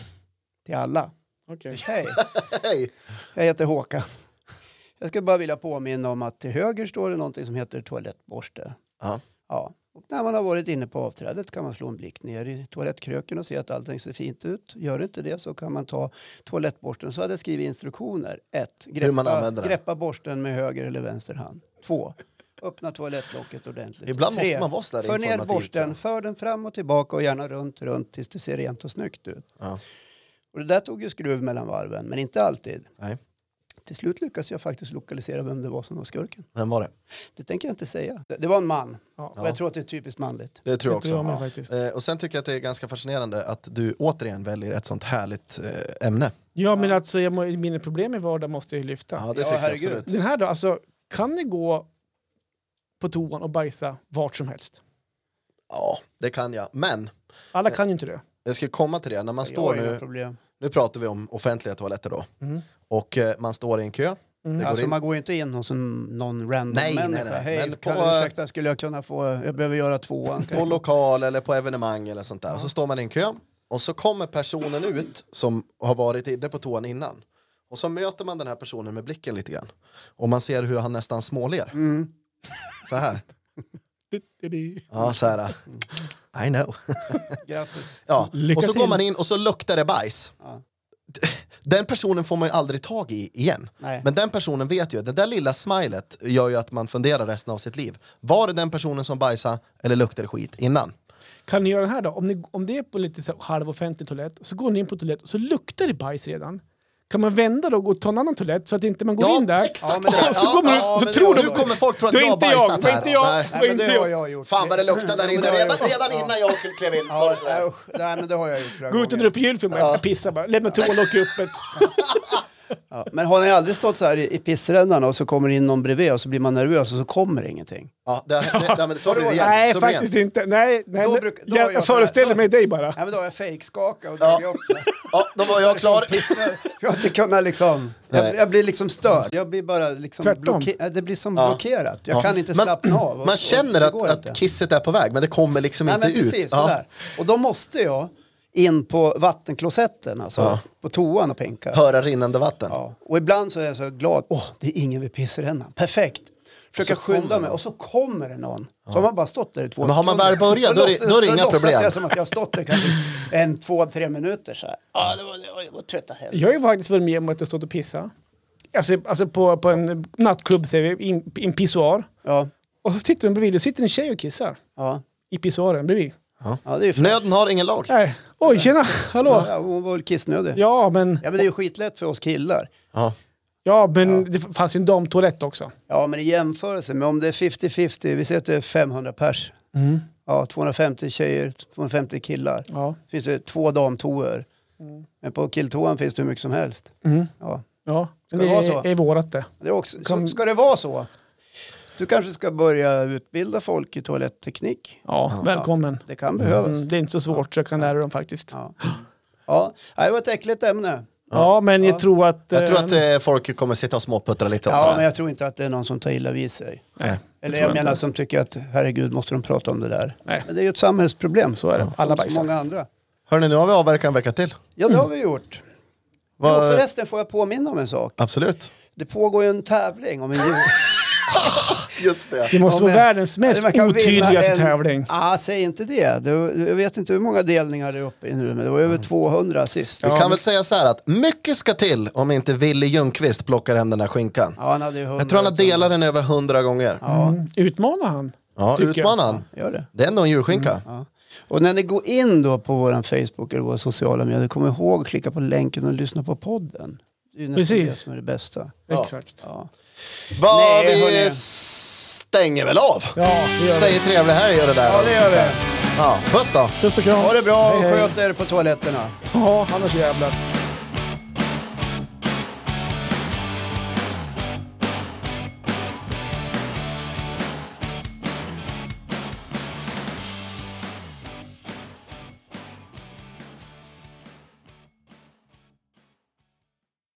[SPEAKER 1] till alla.
[SPEAKER 3] Okej.
[SPEAKER 1] Hej,
[SPEAKER 2] Hej.
[SPEAKER 1] jag heter Håkan. Jag skulle bara vilja påminna om att till höger står det någonting som heter toalettborste.
[SPEAKER 2] Ja.
[SPEAKER 1] Ja. Och när man har varit inne på avträdet kan man slå en blick ner i toalettkröken och se att allting ser fint ut. Gör det inte det så kan man ta toalettborsten. Så hade jag skrivit instruktioner. 1.
[SPEAKER 2] Hur man
[SPEAKER 1] Greppa,
[SPEAKER 2] använder den.
[SPEAKER 1] greppa borsten med höger eller vänster hand. 2. Öppna toalettlocket ordentligt.
[SPEAKER 2] Ibland
[SPEAKER 1] Tre,
[SPEAKER 2] måste man vara så där
[SPEAKER 1] För ner
[SPEAKER 2] informativ, tror
[SPEAKER 1] borsten,
[SPEAKER 2] jag.
[SPEAKER 1] för den fram och tillbaka och gärna runt, runt tills det ser rent och snyggt ut.
[SPEAKER 2] Ja.
[SPEAKER 1] Och det där tog ju skruv mellan varven, men inte alltid.
[SPEAKER 2] Nej.
[SPEAKER 1] Till slut lyckades jag faktiskt lokalisera vem det var som var skurken.
[SPEAKER 2] Vem var det?
[SPEAKER 1] Det tänker jag inte säga. Det- Det var en man.
[SPEAKER 3] Ja.
[SPEAKER 1] Och jag tror att det är typiskt manligt.
[SPEAKER 2] Det tror jag
[SPEAKER 3] Det tror jag med,
[SPEAKER 2] också.
[SPEAKER 3] faktiskt.
[SPEAKER 2] Ja. Eh, och sen tycker jag att det är ganska fascinerande att du återigen väljer ett sånt härligt eh, ämne.
[SPEAKER 3] Ja, men alltså jag må, mina problem i vardagen måste jag ju lyfta.
[SPEAKER 2] Ja, det
[SPEAKER 1] Ja,
[SPEAKER 2] tycker
[SPEAKER 1] herregud.
[SPEAKER 2] jag absolut.
[SPEAKER 3] Den här då, alltså kan ni gå på toan och bajsa vart som helst?
[SPEAKER 2] Ja, det kan jag. Men
[SPEAKER 3] Alla kan ju inte det.
[SPEAKER 2] jag ska komma till det, när man
[SPEAKER 1] Jag har
[SPEAKER 2] står
[SPEAKER 1] inga
[SPEAKER 2] nu,
[SPEAKER 1] problem.
[SPEAKER 2] nu pratar vi om offentliga toaletter då,
[SPEAKER 3] Mm.
[SPEAKER 2] och eh, man står i en kö, det går
[SPEAKER 1] Alltså
[SPEAKER 2] in,
[SPEAKER 1] man går ju inte in hos en, någon random
[SPEAKER 2] Nej, nej,
[SPEAKER 1] människa.
[SPEAKER 2] nej.
[SPEAKER 1] Hej,
[SPEAKER 2] Men
[SPEAKER 1] kan
[SPEAKER 2] på,
[SPEAKER 1] du ursäkta, skulle jag kunna få, jag behöver göra tvåan. Kan
[SPEAKER 2] på
[SPEAKER 1] jag få-
[SPEAKER 2] lokal eller på evenemang eller sånt där, och så står man i en kö, och så kommer personen ut som har varit inne på toan innan, och så möter man den här personen med blicken lite grann, och man ser hur han nästan småler.
[SPEAKER 3] Mm.
[SPEAKER 2] Så här. Ja, så här. I know.
[SPEAKER 1] Grattis.
[SPEAKER 2] Ja.
[SPEAKER 3] Mm. Lycka
[SPEAKER 2] och så
[SPEAKER 3] till.
[SPEAKER 2] går man in och så luktar det bajs. Den personen får man ju aldrig tag i igen.
[SPEAKER 1] Nej.
[SPEAKER 2] Men den personen vet ju, det där lilla smilet gör ju att man funderar resten av sitt liv. Var det den personen som bajsade eller luktade skit innan?
[SPEAKER 3] Kan ni göra det här då? Om, ni, om det är på lite så här halvoffentlig toalett, så går ni in på toalett och så luktar det bajs redan. Kan man vända då och gå ta en annan toalett så att inte man går
[SPEAKER 2] Ja,
[SPEAKER 3] in där?
[SPEAKER 2] exakt.
[SPEAKER 3] Och så går man
[SPEAKER 1] ja,
[SPEAKER 3] ut,
[SPEAKER 1] men
[SPEAKER 3] så tror
[SPEAKER 1] det
[SPEAKER 3] de...
[SPEAKER 1] har
[SPEAKER 2] Nu kommer folk tro att
[SPEAKER 3] Det är
[SPEAKER 2] jag har
[SPEAKER 3] inte
[SPEAKER 2] bajsat
[SPEAKER 3] jag, det är
[SPEAKER 2] här.
[SPEAKER 3] inte jag.
[SPEAKER 2] Nej.
[SPEAKER 1] Nej, men
[SPEAKER 3] inte
[SPEAKER 1] det har
[SPEAKER 3] jag.
[SPEAKER 1] jag gjort.
[SPEAKER 2] Fan vad det luktar där inne,
[SPEAKER 1] det har jag
[SPEAKER 2] redan,
[SPEAKER 1] gjort.
[SPEAKER 2] redan
[SPEAKER 1] Ja.
[SPEAKER 2] innan jag klev in.
[SPEAKER 1] Ja, nej, usch. nej, men det har jag gjort flera
[SPEAKER 3] Gå ut och dra
[SPEAKER 1] gånger.
[SPEAKER 3] upp julfilmen. Jag pissar bara. Lämna toan och åk upp ett.
[SPEAKER 1] Ja. Men har ni aldrig stått så här i i pissrännan och så kommer det in någon bredvid och så blir man nervös och så kommer det ingenting?
[SPEAKER 2] Ja, det, det, nej, men så blir det igen.
[SPEAKER 3] Nej,
[SPEAKER 2] så blir det
[SPEAKER 3] faktiskt
[SPEAKER 2] igen.
[SPEAKER 3] inte. Nej, nej,
[SPEAKER 1] Då
[SPEAKER 3] men
[SPEAKER 1] bruk- då
[SPEAKER 3] jag,
[SPEAKER 1] gör jag
[SPEAKER 3] jag
[SPEAKER 1] så här.
[SPEAKER 3] föreställer mig dig bara.
[SPEAKER 1] Nej men då har jag fejkskakat och
[SPEAKER 2] Ja.
[SPEAKER 1] dragit upp det.
[SPEAKER 2] Ja, då var jag klar.
[SPEAKER 1] Jag har inte kunnat liksom, jag,
[SPEAKER 2] Nej.
[SPEAKER 1] jag blir liksom störd. Jag blir bara liksom
[SPEAKER 3] Tvärtom.
[SPEAKER 1] blocke- ja, det blir som
[SPEAKER 2] Ja.
[SPEAKER 1] blockerat. Jag
[SPEAKER 2] Ja.
[SPEAKER 1] kan inte
[SPEAKER 2] Man-
[SPEAKER 1] slappna av. och-
[SPEAKER 2] Man
[SPEAKER 1] och-
[SPEAKER 2] känner
[SPEAKER 1] det
[SPEAKER 2] att,
[SPEAKER 1] går inte.
[SPEAKER 2] att kisset är på väg, men det kommer liksom
[SPEAKER 1] Nej,
[SPEAKER 2] inte
[SPEAKER 1] men precis,
[SPEAKER 2] ut.
[SPEAKER 1] sådär. Och då måste jag in på vattenklosetten, alltså
[SPEAKER 2] Ja.
[SPEAKER 1] på toan och pinka.
[SPEAKER 2] Höra rinnande vatten.
[SPEAKER 1] Ja. Och ibland så är jag så glad. Åh, det är ingen vid pissrännan. Perfekt. Försöka
[SPEAKER 2] Och så kommer
[SPEAKER 1] skynda mig och så kommer det någon. Så har man bara stått där i två
[SPEAKER 2] Men har man väl
[SPEAKER 1] sekunder.
[SPEAKER 2] börjat, då är det-
[SPEAKER 1] låtsas-
[SPEAKER 2] då är det inga
[SPEAKER 1] låtsas
[SPEAKER 2] problem.
[SPEAKER 1] jag som att jag har stått där kanske en, två, tre minuter så här. Ja, det var det. var- Jag går och tvättar händerna.
[SPEAKER 3] Jag har ju faktiskt varit med om att jag stått och pissat. Alltså, alltså på, på en nattklubb, säger vi, i en- i en pissoar.
[SPEAKER 1] Ja,
[SPEAKER 3] Och så tittar man bredvid, då sitter en tjej och kissar.
[SPEAKER 1] ja.
[SPEAKER 3] I pissoaren bredvid.
[SPEAKER 1] ja det är ju fint.
[SPEAKER 2] Nöden har ingen lag.
[SPEAKER 3] Nej. Oj, tjena! Hallå!
[SPEAKER 1] Ja, hon var väl kissnödig. Ja.
[SPEAKER 3] Ja, men,
[SPEAKER 1] men det är ju skitlätt för oss killar.
[SPEAKER 2] Ja.
[SPEAKER 3] ja, men det fanns ju en damtoalett också.
[SPEAKER 1] Ja, men i jämförelse med om det är 50-50, vi säger att det är 500 pers. Ja, 250 tjejer, 250 killar.
[SPEAKER 3] Mm. Ja. Mm.
[SPEAKER 1] finns det två damtoer. Men på killtoan finns det hur mycket som helst. Ja.
[SPEAKER 3] ja. Ska
[SPEAKER 1] det vara så?
[SPEAKER 3] är vårat det.
[SPEAKER 1] Det är också,
[SPEAKER 3] Kan-
[SPEAKER 1] så, ska det vara så? Du kanske ska börja utbilda folk i toalettteknik.
[SPEAKER 3] Ja, välkommen.
[SPEAKER 1] Det kan behövas.
[SPEAKER 3] Mm, det är inte så svårt så jag kan lära dem faktiskt. Ja,
[SPEAKER 1] Ja. Ja. Nej, det var ett äckligt ämne.
[SPEAKER 3] men jag tror att...
[SPEAKER 2] Jag tror att
[SPEAKER 3] eh,
[SPEAKER 2] eh, folk kommer sitta och småputtra lite åt det
[SPEAKER 1] Ja,
[SPEAKER 2] här.
[SPEAKER 1] men jag tror inte att det är någon som tar illa vid sig.
[SPEAKER 3] Nej,
[SPEAKER 1] Eller jag, menar som tycker att herregud måste de prata om det där.
[SPEAKER 3] Nej.
[SPEAKER 1] Men det är ju ett samhällsproblem.
[SPEAKER 3] så är det. Alla
[SPEAKER 1] Som
[SPEAKER 3] bajsar.
[SPEAKER 1] många andra.
[SPEAKER 2] Hörni, nu har vi avverkat en vecka till.
[SPEAKER 1] Ja, det har vi gjort. Jo,
[SPEAKER 2] Vad-
[SPEAKER 1] förresten får jag påminna om en sak.
[SPEAKER 2] Absolut.
[SPEAKER 1] Det pågår ju en tävling om en jul.
[SPEAKER 2] Just det.
[SPEAKER 3] Det måste
[SPEAKER 1] Ja,
[SPEAKER 3] vara
[SPEAKER 1] men-
[SPEAKER 3] världens mest
[SPEAKER 1] Ja, man kan vinna
[SPEAKER 3] otydligaste
[SPEAKER 1] en-
[SPEAKER 3] tävling.
[SPEAKER 1] Ah, säg inte det. Du, du- jag vet inte hur många delningar det är uppe i nu, men det var över 200 sist.
[SPEAKER 2] Vi
[SPEAKER 1] Ja,
[SPEAKER 2] kan väl säga så här att mycket ska till om inte Willy Ljungqvist plockar hem den här skinkan.
[SPEAKER 1] han hade ju 100.
[SPEAKER 2] Jag tror han har delat den över hundra gånger.
[SPEAKER 3] Mm. Utmana han.
[SPEAKER 2] Ja,
[SPEAKER 3] tycker
[SPEAKER 2] utmana han.
[SPEAKER 1] Gör det.
[SPEAKER 2] Det är ändå en julskinka.
[SPEAKER 1] Mm, Ja. Och när ni går in då på vår Facebook eller våra sociala medier, kom ihåg att klicka på länken och lyssna på podden. Det är ju nästan
[SPEAKER 3] Precis.
[SPEAKER 1] det som är det bästa.
[SPEAKER 2] Ja.
[SPEAKER 3] Exakt.
[SPEAKER 1] Ja.
[SPEAKER 2] Vad
[SPEAKER 1] Nej,
[SPEAKER 2] vi
[SPEAKER 1] hörni.
[SPEAKER 2] stänger väl av.
[SPEAKER 3] Ja, det gör vi.
[SPEAKER 2] Säger trevlig helg gör det där.
[SPEAKER 1] ja, det gör vi.
[SPEAKER 2] Ja, puss då.
[SPEAKER 3] Puss och kram.
[SPEAKER 1] Ha det bra och
[SPEAKER 3] Hej, hej.
[SPEAKER 1] sköt er på toaletterna.
[SPEAKER 3] Ja, annars jävlar.